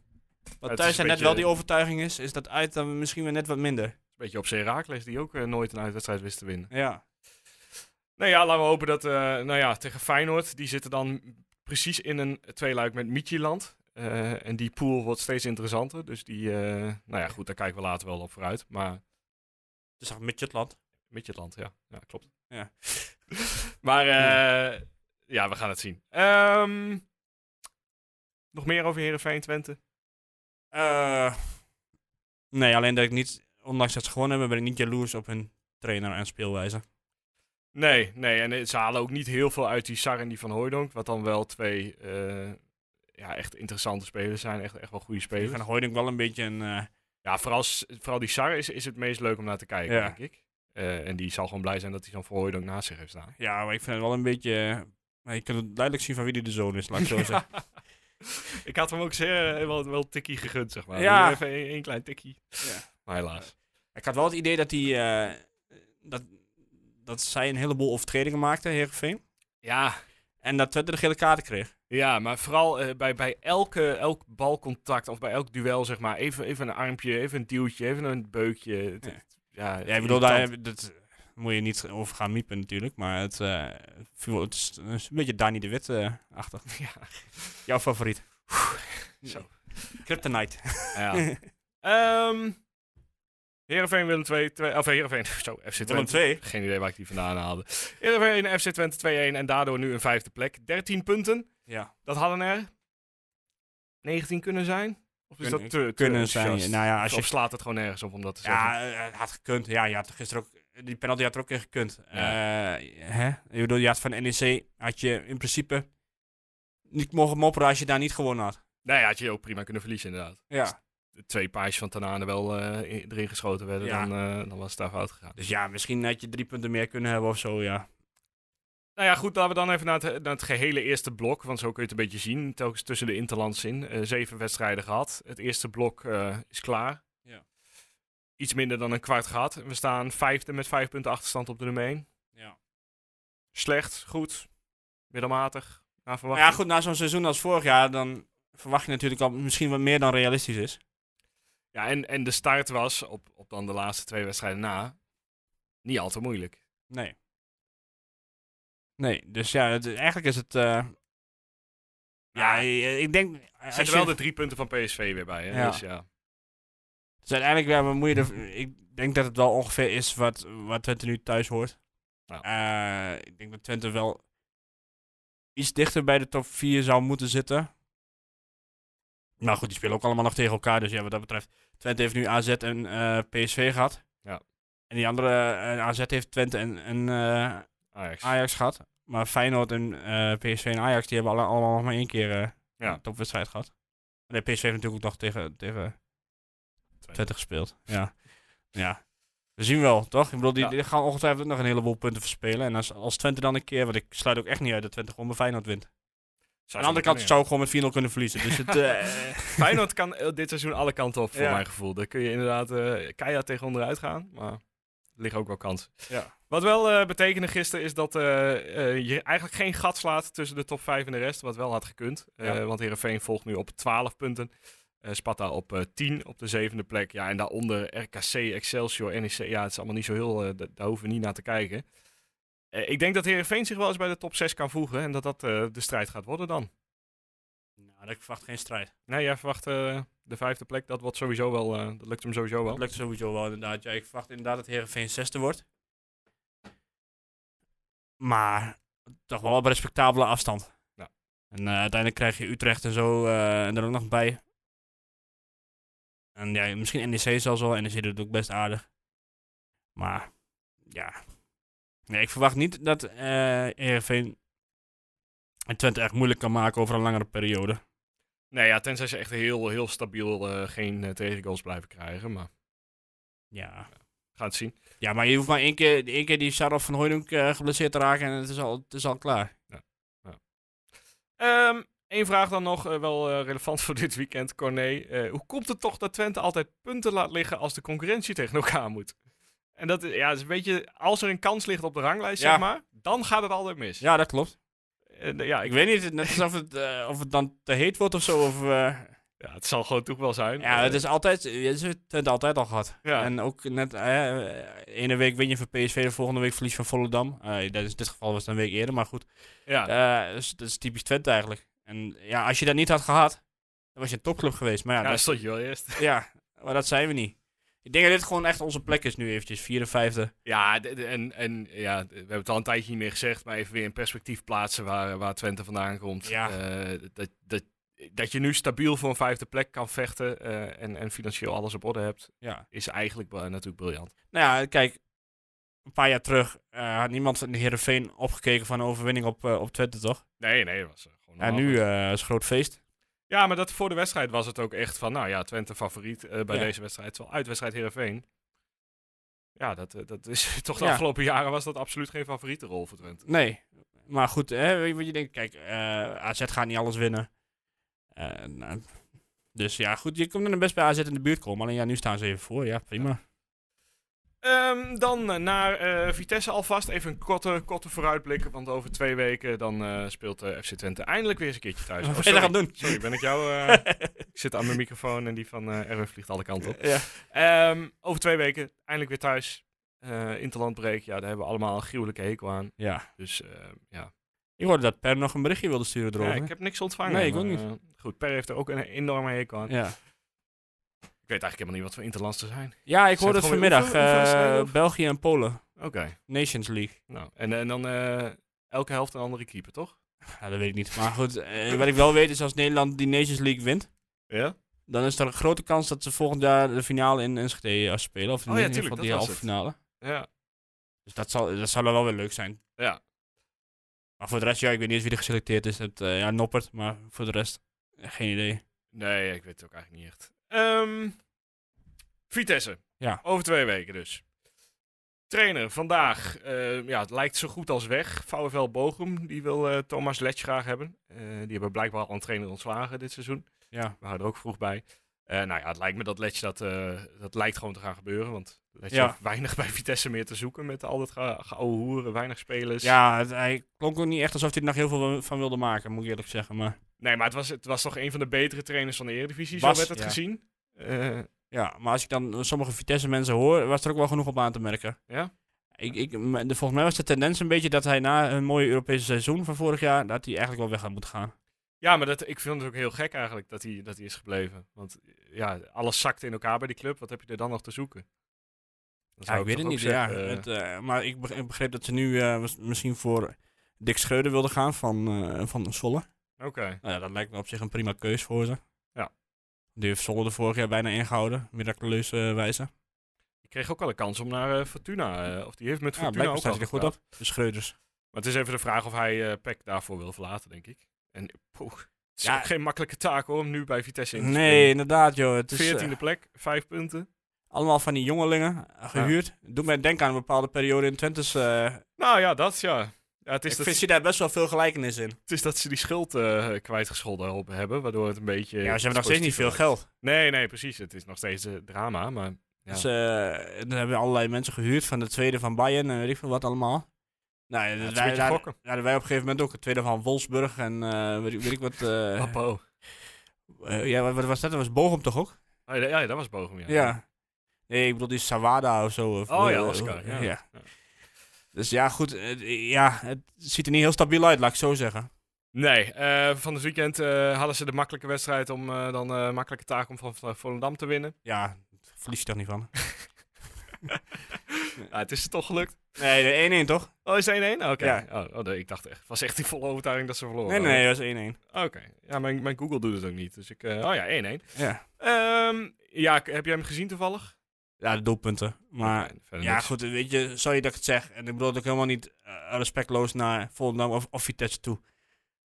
Speaker 4: Wat
Speaker 1: is
Speaker 4: thuis
Speaker 1: een
Speaker 4: er net
Speaker 1: beetje-
Speaker 4: wel die overtuiging is, is dat uit dan misschien weer net wat minder.
Speaker 1: is Een beetje op zijn Herakles, die ook eh, nooit een uitwedstrijd wist te winnen.
Speaker 4: Ja.
Speaker 1: Nou ja, laten we hopen dat, eh, nou ja, tegen Feyenoord, die zitten dan precies in een tweeluik met Michieland. Eh, en die pool wordt steeds interessanter, dus die, eh, nou ja, goed, daar kijken we later wel op vooruit. Maar
Speaker 4: Dus zag Midgetland.
Speaker 1: Midgetland, ja. Ja, [laughs] klopt.
Speaker 4: Ja.
Speaker 1: maar eh, ja, we gaan het zien. Ehm, nog meer over Heerenveen Twente?
Speaker 4: Eh nee, alleen dat ik niet, ondanks dat ze gewonnen hebben, ben ik niet jaloers op hun trainer en speelwijze.
Speaker 1: Nee, nee. En eh, ze halen ook niet heel veel uit die Sar en die Van Hooydonk. Wat dan wel twee eh, ja, echt interessante spelers zijn. Echt, echt wel goede
Speaker 4: Ik
Speaker 1: spelers.
Speaker 4: vind Hoydink wel een beetje een... eh,
Speaker 1: Ja, vooral, s- vooral die Sar is, is het meest leuk om naar te kijken,
Speaker 4: Ja.
Speaker 1: denk ik. Eh, en die zal gewoon blij zijn dat hij zo'n Van Hooydonk naast zich heeft staan.
Speaker 4: ja, maar ik vind het wel een beetje... eh, maar je kunt het duidelijk zien van wie die de zoon is,
Speaker 1: [laughs]
Speaker 4: laat ik zo zeggen.
Speaker 1: ik had hem ook zeer, eh, wel, wel een tikkie gegund, zeg maar.
Speaker 4: Ja.
Speaker 1: Doe Even één één klein tikkie.
Speaker 4: Ja.
Speaker 1: Maar helaas.
Speaker 4: Ik had wel het idee dat, die, eh, dat, dat zij een heleboel overtredingen maakten, Heerenveen.
Speaker 1: Ja,
Speaker 4: En dat Twente de gele kaart kreeg.
Speaker 1: Ja, maar vooral eh, bij, bij elke, elk balcontact of bij elk duel, zeg maar, even, even een armpje, even een duwtje, even een beukje. Het-
Speaker 4: Ja.
Speaker 1: het- Ja,
Speaker 4: Ja, ik bedoel, daar, dat moet je niet over gaan miepen natuurlijk. Maar het, eh, viel- het is het is een beetje Dani de eh, Wit-achtig.
Speaker 1: [laughs] Ja.
Speaker 4: [laughs] Jouw favoriet.
Speaker 1: Zo.
Speaker 4: [laughs] Kryptonite.
Speaker 1: Ja. Ehm, Heerenveen Willem 2, 2 of Heerenveen, [laughs] zo, FC
Speaker 4: Willem
Speaker 1: Twente.
Speaker 4: 2.
Speaker 1: Geen idee waar ik die vandaan haalde. Heerenveen FC Twente 2-1 en daardoor nu een vijfde plek. 13 punten,
Speaker 4: Ja,
Speaker 1: dat hadden er 19 kunnen zijn. Of is
Speaker 4: Kunnen-
Speaker 1: dat te, te
Speaker 4: kunnen zijn.
Speaker 1: enthousiast?
Speaker 4: Nou ja, als
Speaker 1: Of
Speaker 4: je...
Speaker 1: slaat het gewoon nergens op om dat te zeggen?
Speaker 4: Ja, eh, het had gekund. Ja, je had gisteren ook... Die penalty had er ook in gekund.
Speaker 1: Ja.
Speaker 4: Eh, hè? Ik bedoel, je had van NEC... Had je in principe niet mogen mopperen als je daar niet gewonnen had. Dus,
Speaker 1: Nou ja, had je ook prima kunnen verliezen inderdaad.
Speaker 4: Ja.
Speaker 1: de twee paasjes van Tanane wel eh, in- erin geschoten werden,
Speaker 4: Ja.
Speaker 1: dan, eh, dan was het daar fout gegaan.
Speaker 4: Dus ja, misschien had je drie punten meer kunnen hebben of zo, ja.
Speaker 1: Nou ja, goed, laten we dan even naar het, naar het gehele eerste blok, want zo kun je het een beetje zien, telkens tussen de interlands in. Eh, zeven wedstrijden gehad, het eerste blok eh, is klaar.
Speaker 4: Ja.
Speaker 1: Iets minder dan een kwart gehad. We staan vijfde met vijf punten achterstand op de nummer één.
Speaker 4: Ja,
Speaker 1: Slecht, goed, middelmatig, naar verwachting.
Speaker 4: ja goed, na zo'n seizoen als vorig jaar, dan verwacht je natuurlijk al misschien wat meer dan realistisch is.
Speaker 1: Ja, en, en de start was, op, op dan de laatste twee wedstrijden na, niet al te moeilijk.
Speaker 4: Nee. Nee, dus ja, het- eigenlijk is het... eh, ja, eh, ik denk...
Speaker 1: Er
Speaker 4: als
Speaker 1: zitten wel
Speaker 4: je-
Speaker 1: de drie punten van PSV weer bij, hè?
Speaker 4: Ja.
Speaker 1: dus ja.
Speaker 4: dus uiteindelijk, ja, maar moet je er- ik denk dat het wel ongeveer is wat, wat Twente nu thuis hoort.
Speaker 1: Ja.
Speaker 4: Eh, ik denk dat Twente wel iets dichter bij de top 4 zou moeten zitten. Maar goed, die spelen ook allemaal nog tegen elkaar. Dus ja, wat dat betreft. Twente heeft nu AZ en eh, PSV gehad.
Speaker 1: Ja.
Speaker 4: En die andere, eh, AZ heeft Twente en, en eh,
Speaker 1: Ajax.
Speaker 4: Ajax gehad. Maar Feyenoord en eh, PSV en Ajax, die hebben alle, allemaal nog maar één keer eh,
Speaker 1: Ja.
Speaker 4: een topwedstrijd gehad. En de PSV heeft natuurlijk ook nog tegen, tegen Twente
Speaker 1: [laughs]
Speaker 4: gespeeld. Ja. ja. We zien wel, toch? Ik bedoel, die,
Speaker 1: Ja.
Speaker 4: die gaan ongetwijfeld ook nog een heleboel punten verspelen. En als, als Twente dan een keer, want ik sluit ook echt niet uit dat Twente gewoon bij Feyenoord wint. Aan de andere kant zou ik gewoon met 4-0 kunnen verliezen. Dus het, eh,
Speaker 1: [laughs] Feyenoord kan eh, dit seizoen alle kanten op, voor
Speaker 4: Ja.
Speaker 1: mijn gevoel. Daar kun je inderdaad eh keihard tegen onderuit gaan, maar er liggen ook wel kansen.
Speaker 4: ja.
Speaker 1: Wat wel eh, betekende gisteren is dat eh, eh, je eigenlijk geen gat slaat tussen de top 5 en de rest, wat wel had gekund. Eh,
Speaker 4: Ja.
Speaker 1: Want Heerenveen volgt nu op 12 punten. Eh, Sparta op eh, 10 op de zevende plek. Ja, en daaronder RKC, Excelsior, NEC. Ja, het is allemaal niet zo heel... eh, da- daar hoeven we niet naar te kijken. Eh, ik denk dat Heerenveen zich wel eens bij de top 6 kan voegen. En dat dat eh, de strijd gaat worden dan.
Speaker 4: Nou, ik verwacht geen strijd.
Speaker 1: Nee, jij verwacht eh, de vijfde plek. Dat wordt sowieso wel. eh, dat lukt hem sowieso wel.
Speaker 4: Dat lukt sowieso wel inderdaad. Ja, ik verwacht inderdaad dat Heerenveen zesde wordt. Maar toch wel op respectabele afstand.
Speaker 1: Ja.
Speaker 4: En eh, uiteindelijk krijg je Utrecht en zo eh, en er ook nog bij. En ja, misschien NEC zelfs wel. NEC doet het ook best aardig. Maar ja. Nee, ik verwacht niet dat eh Heerenveen het Twente echt moeilijk kan maken over een langere periode.
Speaker 1: Nee, ja, tenzij ze echt heel, heel stabiel eh, geen eh, tegengoals blijven krijgen. Maar
Speaker 4: Ja.
Speaker 1: we gaan het zien.
Speaker 4: Ja, maar je hoeft maar één keer, één keer die Sarov van Hooydonk eh, geblesseerd te raken en het is al, het is al klaar.
Speaker 1: Ehm Eén vraag dan nog, eh, wel eh, relevant [laughs] voor dit weekend, Corné. Eh, hoe komt het toch dat Twente altijd punten laat liggen als de concurrentie tegen elkaar moet? En dat, ja, dat is een beetje, als er een kans ligt op de ranglijst,
Speaker 4: Ja.
Speaker 1: zeg maar, dan gaat het altijd mis.
Speaker 4: Ja, dat klopt.
Speaker 1: En, eh, ja,
Speaker 4: Ik
Speaker 1: ik,
Speaker 4: weet niet, het- net alsof het, eh, of het dan te heet wordt of zo. Of, eh,
Speaker 1: ja, het zal gewoon toch wel zijn.
Speaker 4: ja,
Speaker 1: Eh,
Speaker 4: het is altijd, het is het altijd al gehad.
Speaker 1: Ja.
Speaker 4: En ook net, eh, ene week win je van PSV, de volgende week verlies je van Volendam. Eh, dat is, in dit geval was het een week eerder, maar goed.
Speaker 1: ja.
Speaker 4: Eh, dat, is, dat is typisch Twente eigenlijk. En ja, als je dat niet had gehad, dan was je een topclub geweest. Maar ja,
Speaker 1: Ja,
Speaker 4: dat,
Speaker 1: daar stond je wel eerst.
Speaker 4: ja, maar dat zijn we niet. Ik denk dat dit gewoon echt onze plek is nu eventjes, vierde, vijfde.
Speaker 1: Ja, d- d- en, en ja, d- we hebben het al een tijdje niet meer gezegd, maar even weer in perspectief plaatsen waar, waar Twente vandaan komt.
Speaker 4: Ja.
Speaker 1: Eh, dat, dat, dat je nu stabiel voor een vijfde plek kan vechten eh, en, en financieel alles op orde hebt,
Speaker 4: Ja.
Speaker 1: is eigenlijk wel- natuurlijk briljant.
Speaker 4: Nou ja, kijk, een paar jaar terug eh, had niemand in de Heerenveen opgekeken van een overwinning op, eh, op Twente, toch?
Speaker 1: Nee, nee, dat was eh, gewoon
Speaker 4: En
Speaker 1: normaal.
Speaker 4: nu eh, is het groot feest.
Speaker 1: Ja, maar dat voor de wedstrijd was het ook echt van, nou ja, Twente favoriet eh, bij
Speaker 4: Ja.
Speaker 1: deze wedstrijd. Terwijl uitwedstrijd Heerenveen. Ja, dat, eh, dat is [laughs] toch de
Speaker 4: Ja.
Speaker 1: afgelopen jaren was dat absoluut geen favoriete rol voor Twente.
Speaker 4: Nee, maar goed, hè, weet je wat je denkt? Kijk, eh, AZ gaat niet alles winnen. Eh, nou, dus ja, goed, je komt er best bij AZ in de buurt komen. Alleen ja, nu staan ze even voor. Ja, prima.
Speaker 1: [laughs] Ehm, dan eh, naar eh, Vitesse alvast. Even een korte, korte vooruitblikken, want over twee weken dan eh, speelt eh, FC Twente eindelijk weer eens een keertje thuis.
Speaker 4: Wat
Speaker 1: Oh,
Speaker 4: ben je
Speaker 1: sorry.
Speaker 4: gaan doen?
Speaker 1: Sorry, ben ik jou...
Speaker 4: [laughs]
Speaker 1: eh, ik zit aan mijn microfoon en die van eh Erwin vliegt alle kanten
Speaker 4: [laughs]
Speaker 1: op.
Speaker 4: ja.
Speaker 1: Ehm, over twee weken eindelijk weer thuis. Eh Interlandbreek, ja, daar hebben we allemaal een gruwelijke hekel aan.
Speaker 4: ja.
Speaker 1: Dus eh, ja,
Speaker 4: Ik hoorde dat Per nog een berichtje wilde sturen
Speaker 1: Ja,
Speaker 4: erover.
Speaker 1: ik heb niks ontvangen.
Speaker 4: Nee, ik
Speaker 1: maar,
Speaker 4: ook niet.
Speaker 1: eh, goed, Per heeft er ook een enorme hekel aan.
Speaker 4: ja.
Speaker 1: Ik weet eigenlijk helemaal niet wat voor interlands te zijn.
Speaker 4: Ja, ik
Speaker 1: Zijn
Speaker 4: hoorde
Speaker 1: het
Speaker 4: het
Speaker 1: gewoon weer
Speaker 4: vanmiddag.
Speaker 1: oefen- oefenwedstrijden
Speaker 4: eh,
Speaker 1: of-
Speaker 4: België en Polen.
Speaker 1: Oké.
Speaker 4: Nations League.
Speaker 1: Nou, en, en dan eh, elke helft een andere keeper, toch?
Speaker 4: Ja, dat weet ik niet. Maar goed, eh, wat ik wel weet is als Nederland die Nations League wint,
Speaker 1: Ja?
Speaker 4: dan is er een grote kans dat ze volgend jaar de finale in Enschede eh, spelen. Of in,
Speaker 1: Oh ja,
Speaker 4: ieder
Speaker 1: tuurlijk,
Speaker 4: geval die
Speaker 1: dat was
Speaker 4: halve finale.
Speaker 1: Ja.
Speaker 4: Dus dat zal, dat zal wel weer leuk zijn.
Speaker 1: Ja.
Speaker 4: Maar voor de rest, ja, ik weet niet eens wie er geselecteerd is. Het, eh, ja, Noppert, maar voor de rest, eh, geen idee.
Speaker 1: Nee, ik weet het ook eigenlijk niet echt. Ehm, Vitesse.
Speaker 4: Ja.
Speaker 1: Over twee weken dus. Trainer vandaag. eh, ja, het lijkt zo goed als weg. VfL Bochum, die wil eh, Thomas Letch graag hebben. Eh, die hebben blijkbaar al een trainer ontslagen dit seizoen.
Speaker 4: Ja,
Speaker 1: We houden er ook vroeg bij. Eh, nou ja, het lijkt me dat Letch dat, eh, dat lijkt gewoon te gaan gebeuren. Want Letch
Speaker 4: Ja.
Speaker 1: heeft weinig bij Vitesse meer te zoeken met al dat ge- geouwe hoeren, weinig spelers.
Speaker 4: ja het, hij klonk ook niet echt alsof hij er nog heel veel van wilde maken, moet ik eerlijk zeggen. Maar
Speaker 1: Nee, maar het was, het was toch een van de betere trainers van de Eredivisie,
Speaker 4: Bas,
Speaker 1: zo werd het
Speaker 4: ja.
Speaker 1: gezien. Eh,
Speaker 4: Ja, maar als ik dan sommige Vitesse-mensen hoor, was er ook wel genoeg op aan te merken.
Speaker 1: Ja?
Speaker 4: Ik, ik, m- de, volgens mij was de tendens een beetje dat hij na een mooie Europese seizoen van vorig jaar, dat hij eigenlijk wel weg had moeten gaan.
Speaker 1: ja, maar dat, ik vind het ook heel gek eigenlijk dat hij, dat hij is gebleven. Want eh, ja, alles zakte in elkaar bij die club. Wat heb je er dan nog te zoeken? Dat
Speaker 4: Ja,
Speaker 1: zou
Speaker 4: ik weet
Speaker 1: toch
Speaker 4: het
Speaker 1: ook
Speaker 4: niet. Ja,
Speaker 1: zeggen, eh,
Speaker 4: het, eh, maar ik begreep, ik begreep dat ze nu eh, mis- misschien voor Dick Schreuder wilden gaan van, eh van Zwolle.
Speaker 1: Oké.
Speaker 4: Nou ja, dat lijkt me op zich een prima keus voor ze.
Speaker 1: Ja.
Speaker 4: Die heeft Zwolle er vorig jaar bijna ingehouden, miraculeuze wijze.
Speaker 1: Ik kreeg ook al een kans om naar eh, Fortuna. eh, of die heeft met
Speaker 4: Ja,
Speaker 1: Fortuna
Speaker 4: blijkbaar
Speaker 1: ook
Speaker 4: staat
Speaker 1: al
Speaker 4: hij er goed
Speaker 1: gepraat.
Speaker 4: op. De Schreuders.
Speaker 1: Maar het is even de vraag of hij eh Peck daarvoor wil verlaten, denk ik. En poeh, het is
Speaker 4: Ja.
Speaker 1: ook geen makkelijke taak hoor, om nu bij Vitesse in te
Speaker 4: Nee, inderdaad joh. Het is, eh,
Speaker 1: 14e plek, 5 punten.
Speaker 4: Allemaal van die jongelingen eh, gehuurd. Doet mij denken aan een bepaalde periode in Twente's. eh
Speaker 1: Nou ja, dat ja. ja het,
Speaker 4: ik
Speaker 1: is dat,
Speaker 4: vind je daar best wel veel gelijkenis in.
Speaker 1: het is dat ze die schuld eh, kwijtgescholden op hebben, waardoor het een beetje...
Speaker 4: ja, ze hebben nog steeds niet veel
Speaker 1: positiever
Speaker 4: geld.
Speaker 1: lijkt. Nee, nee, precies. Het is nog steeds eh, drama, maar... Ja.
Speaker 4: Dus eh, dan hebben allerlei mensen gehuurd van de tweede van Bayern en weet ik veel wat allemaal. Nou, ja,
Speaker 1: het is een
Speaker 4: wij,
Speaker 1: beetje
Speaker 4: daar,
Speaker 1: gokken.
Speaker 4: daar hadden wij op een gegeven moment ook. De tweede van Wolfsburg en eh, weet, ik- weet ik wat. eh,
Speaker 1: Appo.
Speaker 4: eh, ja, wat, wat was dat? Dat was Bochum toch ook?
Speaker 1: Oh, ja, ja, dat was Bochum, ja.
Speaker 4: Ja. Nee, ik bedoel die Sawada of zo. Of,
Speaker 1: Oh ja,
Speaker 4: eh,
Speaker 1: Oscar. Ja.
Speaker 4: ja.
Speaker 1: Ja.
Speaker 4: Dus ja, goed. eh, ja, het ziet er niet heel stabiel uit, laat ik zo zeggen.
Speaker 1: Nee, eh, van het weekend eh, hadden ze de makkelijke wedstrijd om eh, dan eh, makkelijke taak om van van Volendam te
Speaker 4: [laughs]
Speaker 1: winnen.
Speaker 4: Ja, verlies je toch niet van.
Speaker 1: Ja, Ah, het is toch gelukt.
Speaker 4: Nee, de 1-1 toch?
Speaker 1: Oh, is het 1-1? Oké.
Speaker 4: Ja.
Speaker 1: Oh, oh, nee, ik dacht echt. Het was echt die volle overtuiging dat ze verloren
Speaker 4: Nee, nee, dat was 1-1.
Speaker 1: hadden. Oké. Ja, mijn, mijn Google doet het ook niet. Dus ik... eh, oh ja, 1-1.
Speaker 4: Ja.
Speaker 1: Ehm, ja, k- heb jij hem gezien toevallig?
Speaker 4: ja, de doelpunten. Maar
Speaker 1: Oké, verder
Speaker 4: Ah, ja,
Speaker 1: niks.
Speaker 4: goed, weet je, sorry dat ik het zeg. En ik bedoel dat ik helemaal niet eh, respectloos naar Volendam of, of Vitesse toe.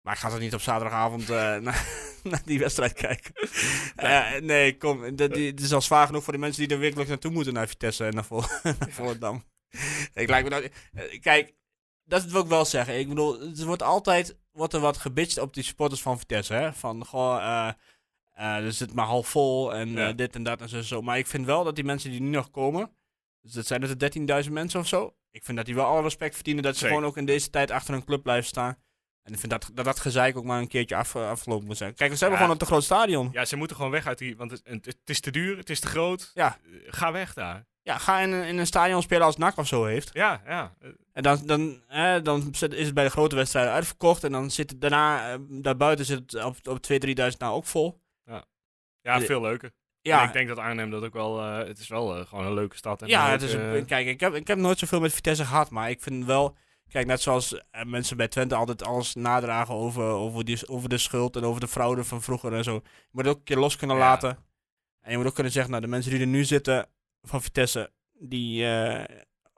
Speaker 4: Maar ik ga toch niet op zaterdagavond eh, [laughs] naar, naar die wedstrijd kijken. Eh, nee, kom. dat- die- Het is al zwaar genoeg voor de mensen die er werkelijk naartoe moeten naar Vitesse en naar, Vol [laughs] naar Volendam. ik lijkt me dat, eh, kijk, dat wil ik wel zeggen. Ik bedoel, er wordt altijd wordt er wat gebitcht op die supporters van Vitesse. Hè? Van, goh, eh eh, er zit maar half vol en
Speaker 1: Ja.
Speaker 4: eh, dit en dat en zo, en zo. Maar ik vind wel dat die mensen die nu nog komen, Dus dat zijn dus de 13.000 mensen of zo. Ik vind dat die wel alle respect verdienen dat ze
Speaker 1: Zeker.
Speaker 4: gewoon ook in deze tijd achter hun club blijven staan. En ik vind dat dat, dat gezeik ook maar een keertje af, eh, afgelopen moet zijn. Kijk, we
Speaker 1: Ja.
Speaker 4: hebben gewoon een te groot stadion. Ja,
Speaker 1: Ja, ze moeten gewoon weg uit die... Want het, het- het is te duur, het is te groot.
Speaker 4: Ja.
Speaker 1: Eh, Ga weg daar.
Speaker 4: ga in, een- in een stadion spelen als NAC of zo heeft.
Speaker 1: Ja, ja. Eh,
Speaker 4: En dan, dan, eh, dan zit- is het bij de grote wedstrijden uitverkocht. En dan zit het daarna, eh, daarbuiten zit het op, op 2.000, 3.000 nou ook vol.
Speaker 1: Ja,
Speaker 4: Eh,
Speaker 1: veel leuker.
Speaker 4: Ja,
Speaker 1: En ik denk dat Arnhem dat ook wel... eh, het is wel eh, gewoon een leuke stad. En
Speaker 4: Ja,
Speaker 1: een
Speaker 4: het is
Speaker 1: leuke- eh,
Speaker 4: een, kijk, ik heb, ik heb nooit zoveel met Vitesse gehad, maar ik vind wel... Kijk, net zoals eh, mensen bij Twente altijd alles nadragen over, over, die, over de schuld en over de fraude van vroeger en zo. Je moet het ook een keer los kunnen
Speaker 1: Ja.
Speaker 4: laten. En je moet ook kunnen zeggen, nou, de mensen die er nu zitten van Vitesse, die, eh,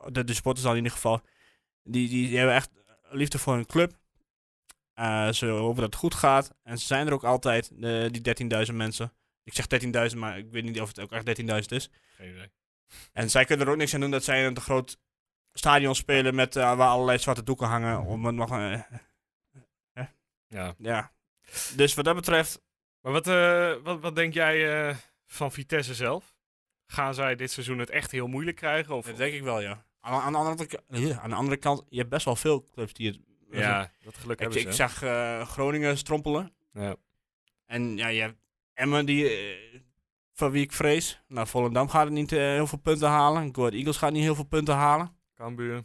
Speaker 4: de, de supporters dan in ieder geval, die, die, die hebben echt liefde voor hun club. Eh, ze hopen dat het goed gaat. En ze zijn er ook altijd, de, die 13.000 mensen. Ik zeg 13.000, maar ik weet niet of het ook echt 13.000 is.
Speaker 1: Geen idee.
Speaker 4: En zij kunnen er ook niks aan doen dat zij in een te groot stadion spelen met, eh, waar allerlei zwarte doeken hangen. Om het nog, eh,
Speaker 1: Ja.
Speaker 4: ja. Dus wat dat betreft,
Speaker 1: Maar wat, eh, wat, wat denk jij eh, van Vitesse zelf? Gaan zij dit seizoen het echt heel moeilijk krijgen? Of,
Speaker 4: dat denk ik wel, ja. Aan, aan, de andere, k- eh, aan de andere kant, je hebt best wel veel clubs die het...
Speaker 1: ja, dat geluk
Speaker 4: ik,
Speaker 1: hebben ze.
Speaker 4: ik zag eh, Groningen strompelen.
Speaker 1: Ja.
Speaker 4: En ja, je hebt Emmen, die, eh, van wie ik vrees. Nou, Volendam gaat er niet eh, heel veel punten halen. Go Ahead Eagles gaat niet heel veel punten halen.
Speaker 1: Cambuur.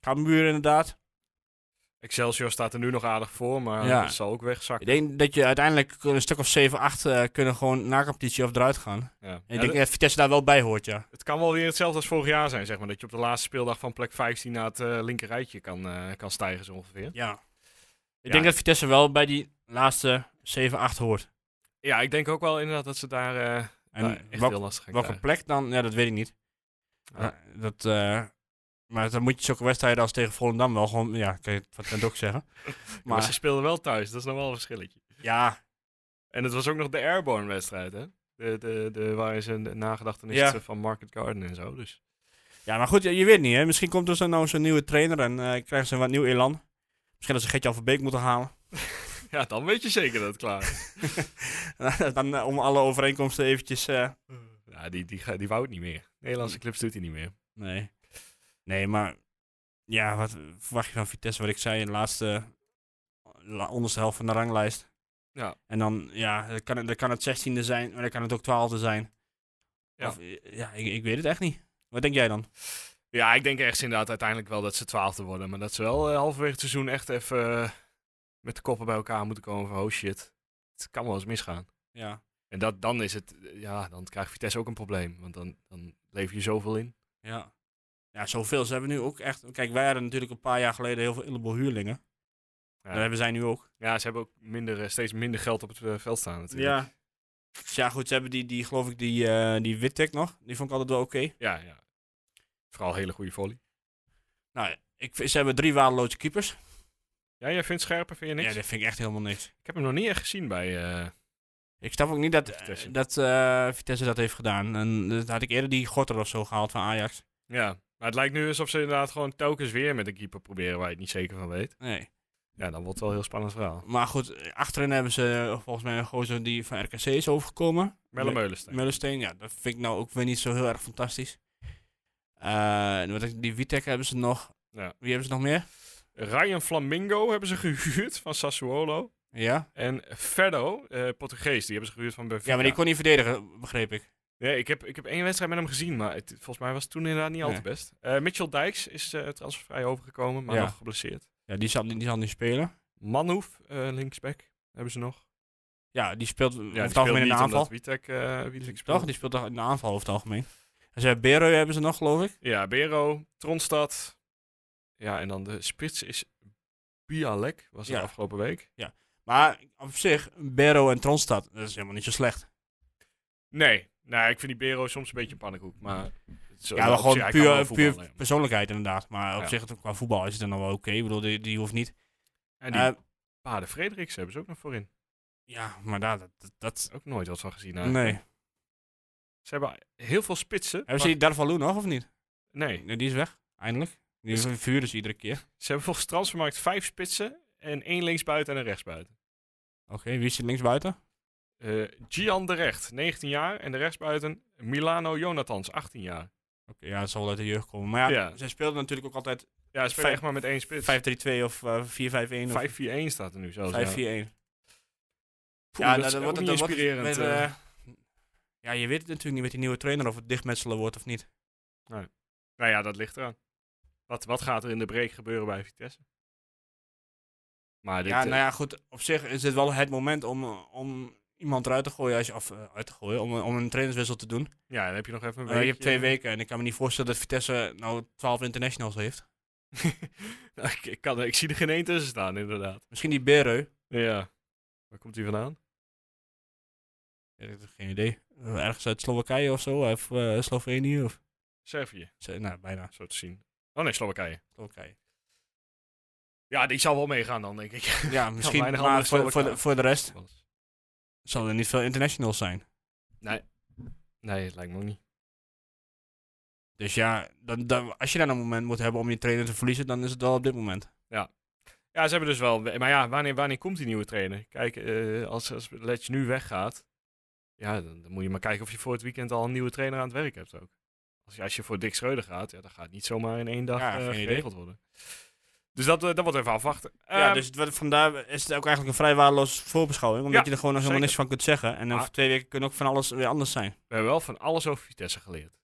Speaker 4: Cambuur inderdaad.
Speaker 1: Excelsior staat er nu nog aardig voor, maar
Speaker 4: Ja.
Speaker 1: het zal ook
Speaker 4: Ik
Speaker 1: wegzakken.
Speaker 4: denk dat je uiteindelijk een stuk of 7, 8 eh, kunnen gewoon na competitie of eruit gaan.
Speaker 1: Ja.
Speaker 4: En
Speaker 1: Ja,
Speaker 4: ik denk dat Vitesse daar wel bij hoort, ja.
Speaker 1: Het kan wel weer hetzelfde als vorig jaar zijn, zeg maar. Dat je op de laatste speeldag van plek 15 naar het eh linker rijtje kan, eh, kan stijgen, zo ongeveer.
Speaker 4: Ja. Ik
Speaker 1: Ja.
Speaker 4: denk dat Vitesse wel bij die laatste 7, 8 hoort.
Speaker 1: Ja, ik denk ook wel inderdaad dat ze daar eh,
Speaker 4: En
Speaker 1: nou, echt
Speaker 4: welk-
Speaker 1: heel lastig gaan
Speaker 4: welke
Speaker 1: krijgen.
Speaker 4: plek dan? Ja, dat weet ik niet.
Speaker 1: Ah.
Speaker 4: Ja, dat, eh, maar dan moet je zulke wedstrijden als tegen Volendam wel gewoon... Ja, kan je van ten ook
Speaker 1: [laughs]
Speaker 4: zeggen.
Speaker 1: Ja, Maar ze
Speaker 4: Maar
Speaker 1: speelden wel thuis, dat is nog wel een verschilletje.
Speaker 4: ja,
Speaker 1: En het was ook nog de Airborne-wedstrijd, hè? De, de, de, waarin ze de nagedachtenis
Speaker 4: Ja.
Speaker 1: van Market Garden en zo. Dus [laughs]
Speaker 4: ja, maar goed, je, je weet niet, hè. Misschien komt er zo nou zo'n nieuwe trainer en eh, krijgen ze wat nieuw elan. Misschien dat ze Gertje Alverbeek moeten halen. [laughs]
Speaker 1: ja, dan weet je zeker dat het klaar is.
Speaker 4: dan eh, om alle overeenkomsten eventjes... eh,
Speaker 1: ja, die, die, ga- die wou het niet meer. Nederlandse clubs doet hij niet meer.
Speaker 4: Nee. Nee, maar ja, wat verwacht je van Vitesse? Wat ik zei in de laatste la- onderste helft van de ranglijst.
Speaker 1: Ja.
Speaker 4: En dan, ja, dan kan het, dan kan het 16e zijn, maar dan kan het ook 12e zijn.
Speaker 1: Ja.
Speaker 4: Of, eh, ja, ik, ik weet het echt niet. Wat denk jij dan?
Speaker 1: Ja, ik denk echt inderdaad uiteindelijk wel dat ze twaalfde worden. Maar dat ze wel eh, halverwege het seizoen echt even eh, met de koppen bij elkaar moeten komen van oh shit, het kan wel eens misgaan.
Speaker 4: Ja.
Speaker 1: En dat, dan is het, eh, ja, dan krijgt Vitesse ook een probleem. Want dan, dan lever je zoveel in.
Speaker 4: Ja. Ja, zoveel. Ze hebben nu ook echt... Kijk, wij hadden natuurlijk een paar jaar geleden heel veel illegal huurlingen.
Speaker 1: Ja.
Speaker 4: Dat hebben zij nu ook.
Speaker 1: Ja, ze hebben ook minder, eh, steeds minder geld op het eh, veld staan natuurlijk.
Speaker 4: Ja. Dus ja, goed. Ze hebben die, die geloof ik, die, eh die Wittek nog. Die vond ik altijd wel oké.
Speaker 1: Ja, ja. Vooral hele goede volley.
Speaker 4: Nou, ik, vind- ze hebben drie waardeloze keepers.
Speaker 1: Ja, jij vindt Scherpen, vind je niks?
Speaker 4: Ja, dat vind ik echt helemaal niks.
Speaker 1: Ik heb hem nog niet echt gezien bij... eh,
Speaker 4: Ik snap ook niet dat,
Speaker 1: Vitesse.
Speaker 4: dat eh, Vitesse dat heeft gedaan. En dat had ik eerder die Gorter of zo gehaald van Ajax.
Speaker 1: ja, maar het lijkt nu alsof ze inderdaad gewoon telkens weer met een keeper proberen waar je het niet zeker van weet.
Speaker 4: Nee.
Speaker 1: Ja, dan wordt het wel een heel spannend verhaal.
Speaker 4: Maar goed, eh, achterin hebben ze eh, volgens mij een gozer die van RKC is overgekomen.
Speaker 1: Melle
Speaker 4: Nee.
Speaker 1: Meulensteen.
Speaker 4: Mullensteen, ja, dat vind ik nou ook weer niet zo heel erg fantastisch. Eh, wat ik- die Witek hebben ze nog.
Speaker 1: Ja.
Speaker 4: Wie hebben ze nog meer?
Speaker 1: Ryan Flamingo hebben ze gehuurd van Sassuolo.
Speaker 4: Ja.
Speaker 1: En Ferdo, eh, Portugees, die hebben ze gehuurd van Benfica.
Speaker 4: Ja, maar die kon niet verdedigen, begreep ik.
Speaker 1: Nee, ik, heb, ik heb één wedstrijd met hem gezien, maar het, volgens mij was het toen inderdaad niet al te
Speaker 4: Nee.
Speaker 1: best. Eh, Mitchell Dijks is eh transfervrij overgekomen, maar
Speaker 4: Ja.
Speaker 1: nog geblesseerd.
Speaker 4: Ja, die zal, die zal niet spelen.
Speaker 1: Manhoef, eh, linksback, hebben ze nog.
Speaker 4: Ja, die speelt over
Speaker 1: die
Speaker 4: het algemeen in de
Speaker 1: niet
Speaker 4: aanval.
Speaker 1: omdat Witek, eh,
Speaker 4: Dus
Speaker 1: Witek speelt.
Speaker 4: Toch? Die speelt toch in de aanval over het algemeen. En ze hebben Bereu hebben ze nog, geloof ik.
Speaker 1: Ja, Bero, Tronstad. Ja, en dan de spits is Bialek, was het
Speaker 4: Ja.
Speaker 1: afgelopen week.
Speaker 4: Maar op zich, Berro en Tronstad, dat is helemaal niet zo slecht.
Speaker 1: Nee, nou, ik vind die Bero soms een beetje een pannenkoek, maar...
Speaker 4: ja,
Speaker 1: nou,
Speaker 4: maar gewoon puur, puur
Speaker 1: puur.
Speaker 4: persoonlijkheid inderdaad. Maar op
Speaker 1: Ja.
Speaker 4: zich, qua voetbal is het dan nog wel oké. Ik bedoel, die, die hoeft niet.
Speaker 1: En die
Speaker 4: Eh,
Speaker 1: Paarden Frederiks hebben ze ook nog voorin.
Speaker 4: ja, maar daar, dat, dat, dat-
Speaker 1: Ook nooit wat van gezien. eigenlijk.
Speaker 4: nee.
Speaker 1: Ze hebben heel veel spitsen.
Speaker 4: Hebben ze die Darvalu nog of niet?
Speaker 1: maar- Nee,
Speaker 4: Nee, die is weg, eindelijk. Die
Speaker 1: Is-
Speaker 4: verhuren ze iedere keer.
Speaker 1: ze hebben volgens Transfermarkt vijf spitsen en één linksbuiten en een rechtsbuiten.
Speaker 4: Oké, wie is die linksbuiten?
Speaker 1: Eh Gian de Recht, 19 jaar. En de rechtsbuiten Milano Jonathans, 18 jaar.
Speaker 4: ja, het zal wel uit de jeugd komen. Maar ja,
Speaker 1: Ja.
Speaker 4: zij speelden natuurlijk ook altijd 5-3-2
Speaker 1: Ja, ze spelen echt maar met één spits.
Speaker 4: of eh, 4-5-1 of 5-4-1.
Speaker 1: 5-4-1 staat er nu zelfs. ja. Poeh,
Speaker 4: Ja,
Speaker 1: dat
Speaker 4: dan-
Speaker 1: is
Speaker 4: dan
Speaker 1: ook
Speaker 4: wordt het
Speaker 1: niet
Speaker 4: dan wordt het
Speaker 1: inspirerend.
Speaker 4: met,
Speaker 1: eh.
Speaker 4: eh, Ja, je weet het natuurlijk niet met die nieuwe trainer of het dichtmetselen wordt of niet.
Speaker 1: Nou ja, dat ligt eraan. Wat, wat gaat er in de break gebeuren bij Vitesse? Maar dit,
Speaker 4: Ja,
Speaker 1: eh,
Speaker 4: nou ja, goed. Op zich is dit wel het moment om, eh, om iemand eruit te gooien. Als je, of eh, uit te gooien, om, een- om een trainerswissel te doen.
Speaker 1: ja, dan heb je nog even een
Speaker 4: Eh, je hebt twee
Speaker 1: weekje. [laughs]
Speaker 4: weken en ik kan me niet voorstellen dat Vitesse nou 12 internationals heeft.
Speaker 1: Nou, ik, ik, kan, ik zie er geen één tussen staan, inderdaad.
Speaker 4: Misschien die Bereu.
Speaker 1: Ja. Waar komt hij vandaan?
Speaker 4: Ja, dat heb ik geen idee. Eh, Ergens uit Slowakije of zo, of eh, Slovenië of...
Speaker 1: Servië,
Speaker 4: Ze- Nou, bijna.
Speaker 1: zo te zien. Oh nee, Slowakije.
Speaker 4: Slowakije.
Speaker 1: Ja, die zal wel meegaan dan, denk ik. [laughs]
Speaker 4: Ja, misschien,
Speaker 1: weinig
Speaker 4: maar
Speaker 1: andere
Speaker 4: voor, voor, de,
Speaker 1: Slowaken.
Speaker 4: voor de rest zal er niet veel internationals zijn.
Speaker 1: Nee, het lijkt me ook niet.
Speaker 4: Dus ja, dan, dan, als je dan een moment moet hebben om je trainer te verliezen, dan is het wel op dit moment.
Speaker 1: Ja, ze hebben dus wel... Maar ja, wanneer, wanneer komt die nieuwe trainer? Kijk, eh, als, als Letch nu weggaat... Ja, dan, dan moet je maar kijken of je voor het weekend al een nieuwe trainer aan het werk hebt ook. Als, je- als je voor Dick Schreuder gaat, ja, dan gaat niet zomaar in één dag
Speaker 4: Ja,
Speaker 1: eh,
Speaker 4: geen idee.
Speaker 1: geregeld worden. Dus dat, eh, dat wordt even afwachten.
Speaker 4: ja,
Speaker 1: Ehm,
Speaker 4: dus het wordt- vandaar is het ook eigenlijk een vrij waardeloze voorbeschouwing, omdat
Speaker 1: Ja,
Speaker 4: je er gewoon nog helemaal
Speaker 1: zeker.
Speaker 4: niks van kunt zeggen. En over
Speaker 1: Maar-
Speaker 4: twee weken kunnen ook van alles weer anders zijn.
Speaker 1: We hebben wel van alles over Vitesse geleerd.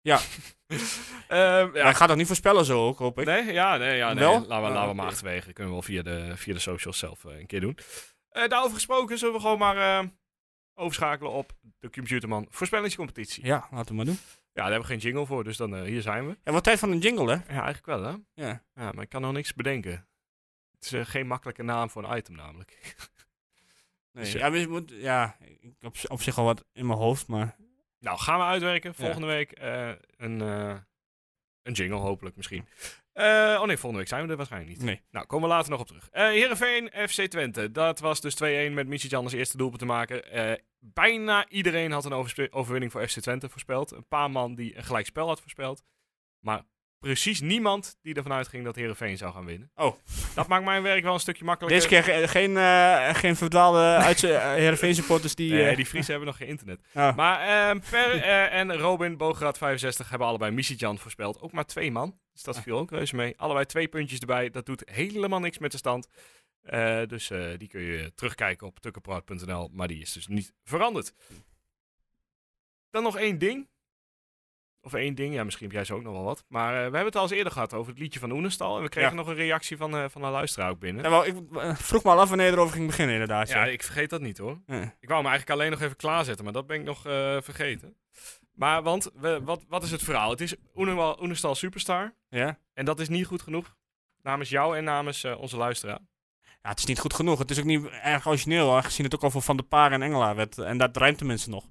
Speaker 4: Ja.
Speaker 1: [laughs] Ehm,
Speaker 4: Ja.
Speaker 1: ja.
Speaker 4: Ik ga dat niet voorspellen zo ook, hoop ik.
Speaker 1: Nee, ja, nee, ja, nee.
Speaker 4: Wel?
Speaker 1: Laten we, laten we
Speaker 4: Ah, oké.
Speaker 1: maar achterwege. Kunnen we wel via de, via de socials zelf eh, een keer doen. Eh, daarover gesproken zullen we gewoon maar eh, overschakelen op de Computerman voorspellingscompetitie. Ja.
Speaker 4: Ja, laten we maar doen.
Speaker 1: daar hebben we geen jingle voor, dus dan eh, hier zijn we.
Speaker 4: Ja, wat tijd van een jingle, hè?
Speaker 1: Ja, eigenlijk wel, hè?
Speaker 4: Ja.
Speaker 1: Ja, maar ik kan nog niks bedenken. Het is eh, geen makkelijke naam voor een item namelijk. [laughs]
Speaker 4: Nee,
Speaker 1: Dus ja.
Speaker 4: ja, maar je moet, ja, ik heb op zich al wat in mijn hoofd, maar
Speaker 1: Nou, gaan we uitwerken. Volgende week eh, een, eh, een jingle hopelijk misschien. Eh, oh nee, volgende week zijn we er waarschijnlijk niet.
Speaker 4: nee.
Speaker 1: Nou, komen we later nog op terug. Eh Heerenveen, FC Twente. Dat was dus 2-1 met Michitjan als eerste doelpunt te maken. Eh, bijna iedereen had een overspe- overwinning voor FC Twente voorspeld. Een paar man die een gelijkspel had voorspeld. Maar precies niemand die ervan uitging dat Heerenveen zou gaan winnen.
Speaker 4: Oh.
Speaker 1: Dat maakt mijn werk wel een stukje makkelijker.
Speaker 4: Deze keer ge- geen, eh, geen verdwaalde uitze- eh, Heerenveen supporters die...
Speaker 1: Nee,
Speaker 4: eh,
Speaker 1: die Friesen hebben nog geen internet.
Speaker 4: ah.
Speaker 1: Maar ehm, Per eh, en Robin Bograd 65 hebben allebei Michitjan voorspeld. Ook maar twee man. Dus dat viel ook reuze mee. Allebei twee puntjes erbij. Dat doet helemaal niks met de stand. Eh, dus eh, die kun je terugkijken op tukkenprout.nl. Maar die is dus niet veranderd. Dan nog één ding. Of één ding. Ja, misschien heb jij zo ook nog wel wat. Maar eh, we hebben het al eens eerder gehad over het liedje van Oenestal. En we kregen
Speaker 4: Ja.
Speaker 1: nog een reactie van, eh, van een luisteraar ook binnen.
Speaker 4: Ja, wel, ik eh, vroeg me al af wanneer je erover ging beginnen, inderdaad.
Speaker 1: Ja,
Speaker 4: Ja,
Speaker 1: ik vergeet dat niet hoor.
Speaker 4: Eh.
Speaker 1: Ik wou hem eigenlijk alleen nog even klaarzetten, maar dat ben ik nog eh, vergeten. Maar want, we, wat, wat is het verhaal? Het is Oene- Oenestal Superstar.
Speaker 4: ja?
Speaker 1: En dat is niet goed genoeg. Namens jou en namens eh, onze luisteraar.
Speaker 4: Ja, het is niet goed genoeg. Het is ook niet erg origineel, aangezien het ook al voor Van der Paar en Engelaar werd. eh, En dat rijmt tenminste nog.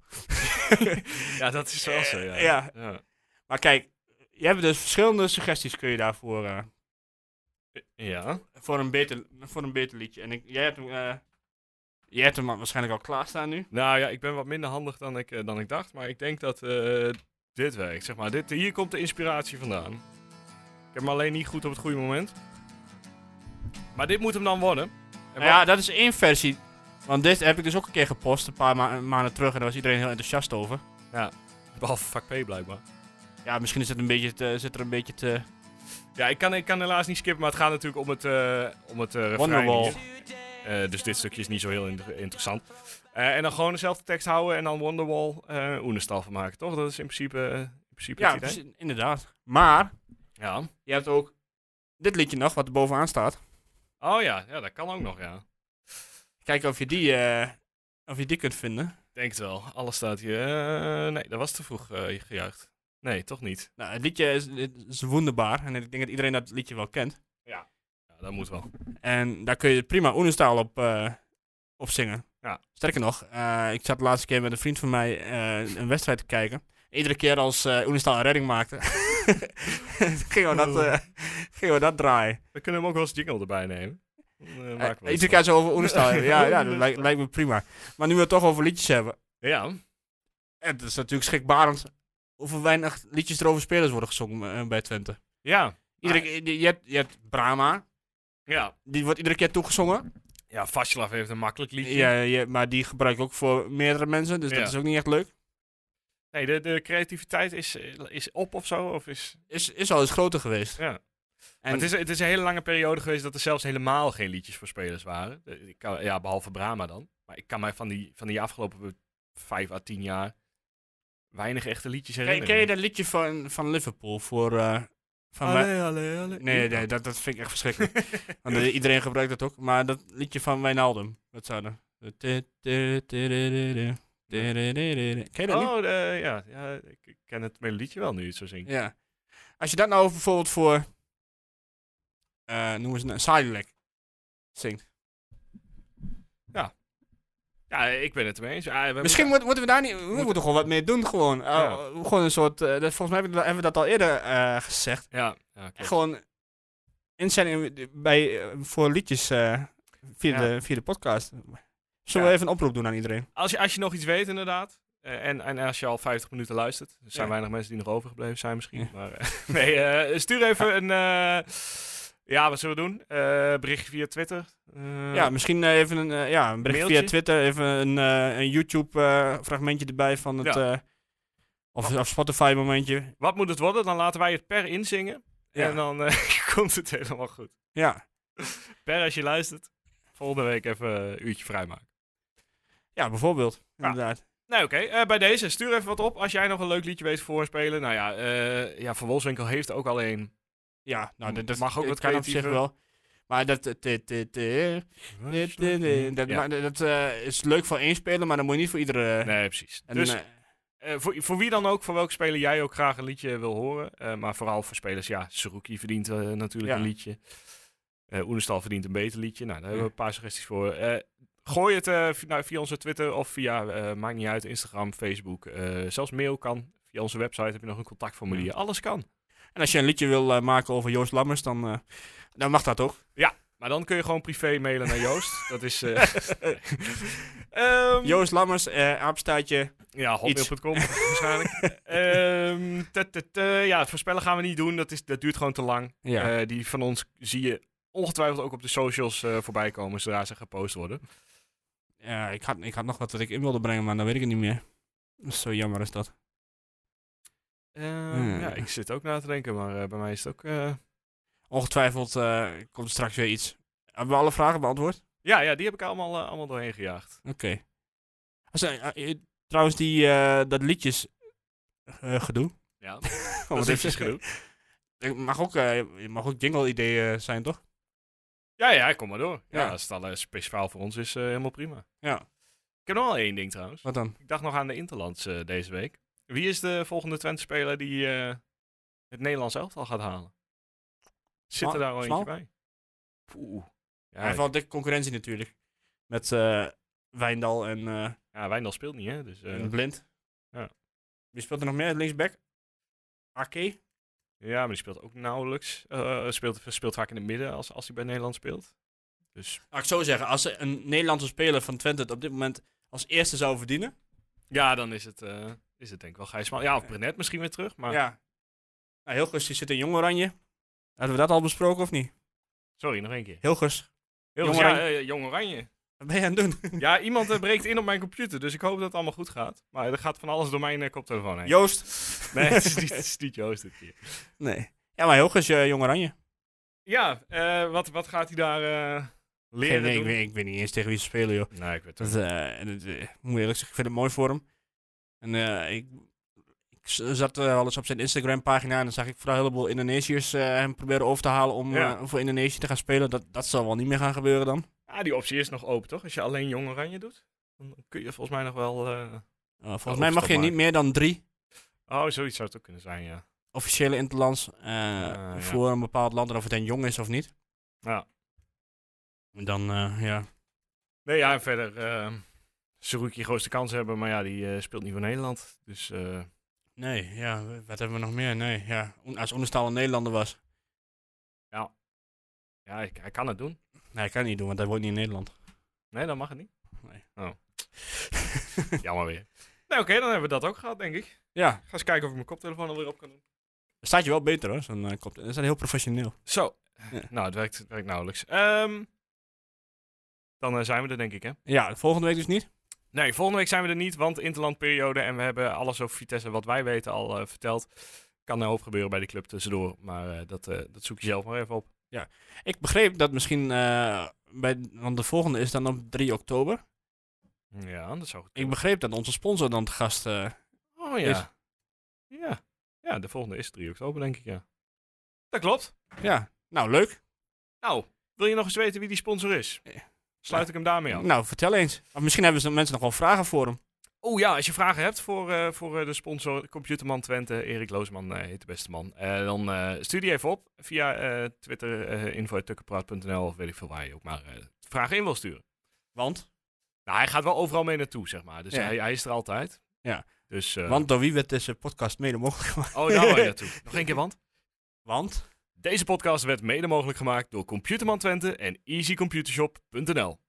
Speaker 1: Ja, dat is wel zo. Ja.
Speaker 4: Eh, Ja. Maar kijk, je hebt dus verschillende suggesties kun je daarvoor eh,
Speaker 1: Ja.
Speaker 4: voor, een beter, voor een beter liedje. En ik, jij, hebt hem, eh, jij hebt hem waarschijnlijk al klaarstaan nu.
Speaker 1: Nou ja, ik ben wat minder handig dan ik, eh, dan ik dacht. Maar ik denk dat eh, dit werkt. Zeg maar. dit, hier komt de inspiratie vandaan. Ik heb hem alleen niet goed op het goede moment. Maar dit moet hem dan worden. En
Speaker 4: Nou ja, dat is één versie. Want dit heb ik dus ook een keer gepost, een paar ma- maanden terug. En daar was iedereen heel enthousiast over.
Speaker 1: wat- Behalve vak P blijkbaar.
Speaker 4: Ja, misschien is het een beetje te, zit er een beetje te...
Speaker 1: Ja, ik kan, ik kan helaas niet skippen, maar het gaat natuurlijk om het, eh om het eh, refrein
Speaker 4: Wonderwall.
Speaker 1: hier. Eh, dus dit stukje is niet zo heel inter- interessant. Eh, en dan gewoon dezelfde tekst houden en dan Wonderwall eh Oenestal van maken, toch? Dat is in principe, eh, in principe
Speaker 4: Ja,
Speaker 1: het idee.
Speaker 4: precies, inderdaad. Maar
Speaker 1: Ja.
Speaker 4: je hebt ook dit liedje nog, wat er bovenaan staat.
Speaker 1: Oh ja, ja, dat kan ook nog, ja.
Speaker 4: Kijken of je die, eh, of je die kunt vinden.
Speaker 1: Denk het wel. Alles staat hier. Eh, nee, dat was te vroeg eh, gejuicht. Nee, toch niet.
Speaker 4: Nou, het liedje is, het is wonderbaar. En ik denk dat iedereen dat liedje wel kent.
Speaker 1: Ja, dat moet wel.
Speaker 4: En daar kun je prima Oenestaal op, eh, op zingen.
Speaker 1: Ja.
Speaker 4: Sterker nog, eh, ik zat de laatste keer met een vriend van mij eh, een wedstrijd te kijken. Iedere keer als eh Oenestaal een redding maakte, [laughs] gingen we, dat, eh, gingen we dat draaien.
Speaker 1: We kunnen hem ook wel eens jingle erbij nemen. Dan, eh, maken we
Speaker 4: Eh,
Speaker 1: het
Speaker 4: iedere
Speaker 1: wel.
Speaker 4: keer zo over Oenestaal.
Speaker 1: [laughs]
Speaker 4: ja, ja, dat
Speaker 1: Oenestaal.
Speaker 4: lijkt, lijkt me prima. Maar nu we het toch over liedjes hebben.
Speaker 1: Ja,
Speaker 4: Het is natuurlijk schrikbarend hoeveel weinig liedjes er over spelers worden gezongen eh, bij Twente.
Speaker 1: ja,
Speaker 4: Iedere, keer- je, hebt, je hebt Brahma,
Speaker 1: ja.
Speaker 4: die wordt iedere keer toegezongen.
Speaker 1: Ja, Vasilaf heeft een makkelijk liedje.
Speaker 4: Ja, je- maar die gebruik ik ook voor meerdere mensen, dus
Speaker 1: Ja.
Speaker 4: dat is ook niet echt leuk.
Speaker 1: Nee, de, de creativiteit is, eh, is op of zo. Of is,
Speaker 4: Is, is al eens groter geweest.
Speaker 1: ja.
Speaker 4: En
Speaker 1: Maar het, is, het is een hele lange periode geweest dat er zelfs helemaal geen liedjes voor spelers waren. De- Ik kan, ja, behalve Brahma dan. Maar ik kan mij van die, van die afgelopen vijf à tien jaar weinig echte liedjes
Speaker 4: ken,
Speaker 1: herinneren.
Speaker 4: ken je dat liedje van, van Liverpool voor... eh, van Wij-
Speaker 1: Allee, allee, allee.
Speaker 4: Nee, nee dat, dat vind ik echt verschrikkelijk.
Speaker 1: [laughs]
Speaker 4: Want eh, iedereen gebruikt dat ook. Maar dat liedje van Wijnaldum, dat zou dan... Ken je dat niet?
Speaker 1: Oh, eh, ja, ja, ik ken het melodietje wel nu, het zo zingt.
Speaker 4: Ja. Als je dat nou bijvoorbeeld voor... eh noemen ze een Sidelec zingt.
Speaker 1: Ja, ik ben het ermee eens. Ah, we
Speaker 4: Misschien moet- moeten we daar niet... We moeten, gewoon wat meer doen, gewoon. Eh,
Speaker 1: Ja.
Speaker 4: Gewoon een soort... eh, dat- volgens mij hebben we- hebben we dat al eerder eh, gezegd.
Speaker 1: Ja, ja klopt.
Speaker 4: Gewoon inzending bij, eh, voor liedjes eh, via,
Speaker 1: Ja.
Speaker 4: de, via de podcast. Zullen
Speaker 1: Ja.
Speaker 4: we even een oproep doen aan iedereen?
Speaker 1: Als je, als je nog iets weet, inderdaad. eh, en, en als je al 50 minuten luistert. Er zijn
Speaker 4: Ja.
Speaker 1: weinig mensen die nog overgebleven zijn misschien.
Speaker 4: Ja.
Speaker 1: Maar, eh, [laughs] nee, eh, stuur even een... eh, ja, wat zullen we doen? Eh berichtje via Twitter. Eh,
Speaker 4: Ja, misschien eh, even een, eh, ja, een bericht via
Speaker 1: Mailtje?
Speaker 4: Twitter, even een, eh, een YouTube-fragmentje erbij van het.
Speaker 1: Ja.
Speaker 4: eh, of, of Spotify-momentje.
Speaker 1: Wat moet het worden? Dan laten wij het per inzingen.
Speaker 4: Ja.
Speaker 1: En dan eh, [laughs] komt het helemaal goed.
Speaker 4: ja.
Speaker 1: Per, als je luistert. Volgende week even een uurtje vrijmaken.
Speaker 4: ja, bijvoorbeeld.
Speaker 1: Ja.
Speaker 4: Inderdaad.
Speaker 1: Nou, oké. Eh, bij deze, stuur even wat op. Als jij nog een leuk liedje weet voorspelen. Nou ja, eh, ja Van Wolfswinkel heeft ook alleen...
Speaker 4: Ja, nou, dat, dat
Speaker 1: Mag ook
Speaker 4: dat
Speaker 1: wat
Speaker 4: kan op zich
Speaker 1: creatiever.
Speaker 4: wel. Maar dat. eh, dit, dit, dit, dit, dit, dit, Dat
Speaker 1: Ja.
Speaker 4: maar dat eh, is leuk voor één speler, maar dat moet je niet voor iedere.
Speaker 1: Nee, precies.
Speaker 4: en,
Speaker 1: dus
Speaker 4: eh,
Speaker 1: Eh, voor, voor wie dan ook, voor welke speler jij ook graag een liedje wil horen. Eh, maar vooral voor spelers, ja, Saruki verdient eh, natuurlijk
Speaker 4: Ja.
Speaker 1: een liedje. Eh Oenestal verdient een beter liedje. Nou, daar hebben
Speaker 4: Ja.
Speaker 1: we een paar suggesties voor. Eh, gooi het eh, via, nou, via onze Twitter of via, eh, maakt niet uit, Instagram, Facebook. Eh, zelfs mail kan. Via onze website heb je nog een contactformulier. Alles kan.
Speaker 4: en als je een liedje wil eh, maken over Joost Lammers, dan, eh, dan mag dat ook.
Speaker 1: Maar dan kun je gewoon privé mailen naar
Speaker 4: [laughs]
Speaker 1: Joost. Dat is... eh, Ehm,
Speaker 4: Joost Lammers, eh apenstaartje.
Speaker 1: Ja, hotmail.com
Speaker 4: [laughs]
Speaker 1: waarschijnlijk. Ehm, tut, tut, eh, ja, het voorspellen gaan we niet doen. Dat, is, dat duurt gewoon te lang.
Speaker 4: Ja.
Speaker 1: Eh, die van ons zie je ongetwijfeld ook op de socials eh, voorbij komen zodra ze gepost worden.
Speaker 4: Ja, ik had, ik had nog wat dat ik in wilde brengen, maar dan weet ik het niet meer. Dat is Zo jammer is dat.
Speaker 1: Ehm,
Speaker 4: Ja.
Speaker 1: Ja, ik zit ook na te denken, maar eh, bij mij is het ook... eh,
Speaker 4: Ongetwijfeld eh, komt er straks weer iets. Hebben we alle vragen beantwoord?
Speaker 1: Ja, ja, die heb ik allemaal, eh, allemaal doorheen gejaagd.
Speaker 4: Oké. Als, eh, eh, eh, trouwens, die, eh, dat liedjes eh, gedoe. [laughs]
Speaker 1: Ja,
Speaker 4: Oh,
Speaker 1: [laughs] dat
Speaker 4: wat
Speaker 1: is
Speaker 4: is
Speaker 1: iets
Speaker 4: het?
Speaker 1: genoeg.
Speaker 4: Het mag ook, eh, mag ook jingle-ideeën zijn, toch?
Speaker 1: Ja, ja, kom maar door. Ja,
Speaker 4: Ja.
Speaker 1: als het al eh, speciaal voor ons is, eh, helemaal prima.
Speaker 4: Ja,
Speaker 1: Ik heb nog wel één ding trouwens.
Speaker 4: wat dan?
Speaker 1: Ik dacht nog aan de Interlands eh, deze week. Wie is de volgende Twente-speler die eh, het Nederlands elftal gaat halen? Zit er
Speaker 4: Smal-
Speaker 1: daar al eentje
Speaker 4: Smal?
Speaker 1: bij? Poeh.
Speaker 4: Hij
Speaker 1: Ja,
Speaker 4: heeft wel dikke concurrentie natuurlijk. Met eh, Wijndal en, eh,
Speaker 1: ja, Wijndal speelt niet, hè? Dus, eh,
Speaker 4: en Blind.
Speaker 1: Ja.
Speaker 4: Wie speelt er nog meer? Linksback? Ake?
Speaker 1: ja, maar die speelt ook nauwelijks. Eh, speelt, speelt vaak in het midden als, als hij bij Nederland speelt. Dus
Speaker 4: Laat ik zo zeggen, als een Nederlandse speler van Twente het op dit moment als eerste zou verdienen.
Speaker 1: ja, dan is het, eh, is het denk ik wel Gijs Smal. Ja, of Brenet misschien weer terug. Maar
Speaker 4: Ja. Nou, Hilgers die zit in Jong Oranje. Hadden we dat al besproken of niet?
Speaker 1: sorry, nog één keer.
Speaker 4: Hilgers,
Speaker 1: Heel
Speaker 4: Jong
Speaker 1: ja,
Speaker 4: Oranje.
Speaker 1: eh, Jong Oranje.
Speaker 4: wat ben je aan het doen?
Speaker 1: Ja, iemand eh, breekt in op mijn computer, dus ik hoop dat het allemaal goed gaat. Maar er gaat van alles door mijn eh, koptelefoon heen.
Speaker 4: Joost.
Speaker 1: Nee, [laughs] het is niet, het is niet Joost dit keer.
Speaker 4: [laughs] Nee. Ja, maar Hilgers, eh, Jong Oranje.
Speaker 1: Ja, eh, wat, wat gaat hij daar eh, leren
Speaker 4: Geen idee, ik,
Speaker 1: doen?
Speaker 4: weet, ik weet niet eens tegen wie ze spelen, joh.
Speaker 1: Nee, ik weet
Speaker 4: Dat, eh, en het, eh, ik moet eerlijk zeggen, ik vind het mooi voor hem. En eh, ik, ik z- zat eh, al eens op zijn Instagram-pagina en dan zag ik vooral een heleboel Indonesiërs eh, hem proberen over te halen om
Speaker 1: Ja.
Speaker 4: eh, voor Indonesië te gaan spelen. Dat, dat zal wel niet meer gaan gebeuren dan.
Speaker 1: Ah, die optie is nog open, toch? Als je alleen Jong Oranje doet, dan kun je volgens mij nog wel... eh,
Speaker 4: Eh, volgens
Speaker 1: Ja,
Speaker 4: mij mag je
Speaker 1: overstap
Speaker 4: niet meer dan drie
Speaker 1: Oh, zoiets zou het ook kunnen zijn, ja.
Speaker 4: officiële interlands eh,
Speaker 1: ja.
Speaker 4: voor een bepaald land, en of het dan jong is of niet.
Speaker 1: Ja.
Speaker 4: En Dan, eh, ja.
Speaker 1: Nee, ja, en verder... Uh, Saruki grootste kans hebben, maar ja, die eh, speelt niet voor Nederland. Dus eh,
Speaker 4: Nee, ja, wat hebben we nog meer? Nee, ja. Oen- Als Oenestal een Nederlander was.
Speaker 1: ja, hij, hij kan het doen.
Speaker 4: Nee, kan niet doen, want hij woont niet in Nederland. [laughs]
Speaker 1: Nee, dan mag het niet.
Speaker 4: Nee.
Speaker 1: Oh. Jammer weer. Nou, oké, dan hebben we dat ook gehad, denk ik. Ik
Speaker 4: ja,
Speaker 1: ga eens kijken of ik mijn koptelefoon alweer op kan doen.
Speaker 4: staat je wel beter hoor, zo'n eh, kop. Dat is heel professioneel.
Speaker 1: Zo.
Speaker 4: Ja.
Speaker 1: Nou, het werkt, het werkt nauwelijks. Ehm, dan eh, zijn we er, denk ik, hè?
Speaker 4: Ja, volgende week dus niet.
Speaker 1: Nee, volgende week zijn we er niet, want interlandperiode. En we hebben alles over Vitesse wat wij weten al eh, verteld. Kan een hoop gebeuren bij die club tussendoor. Maar eh, dat, eh, dat zoek je zelf maar even op.
Speaker 4: Ik begreep dat misschien, eh, bij, want de volgende is dan op 3 oktober.
Speaker 1: Ja, dat zou goed
Speaker 4: Ik
Speaker 1: kunnen.
Speaker 4: begreep dat onze sponsor dan te gast eh,
Speaker 1: Oh ja.
Speaker 4: is.
Speaker 1: ja. Ja, de volgende is 3 oktober, denk ik, ja. Dat klopt.
Speaker 4: Ja, nou leuk.
Speaker 1: Nou, wil je nog eens weten wie die sponsor is? Sluit ik hem daarmee af.
Speaker 4: Nou, vertel eens. Of misschien hebben ze mensen nog wel vragen voor hem.
Speaker 1: Oh ja, als je vragen hebt voor, eh, voor eh, de sponsor Computerman Twente, Erik Loosman eh, heet de beste man. eh, dan eh, stuur die even op via eh, Twitter, eh info.tukkenpraat.nl of weet ik veel waar je ook maar eh, vragen in wil sturen.
Speaker 4: Want?
Speaker 1: Nou, hij gaat wel overal mee naartoe, zeg maar. Dus
Speaker 4: Ja.
Speaker 1: hij, hij is er altijd.
Speaker 4: Ja.
Speaker 1: Dus, eh,
Speaker 4: Want door wie werd deze podcast mede mogelijk gemaakt?
Speaker 1: Oh, daar wil [laughs] je naartoe. Nog één keer, want?
Speaker 4: Want?
Speaker 1: Deze podcast werd mede mogelijk gemaakt door Computerman Twente en easycomputershop.nl.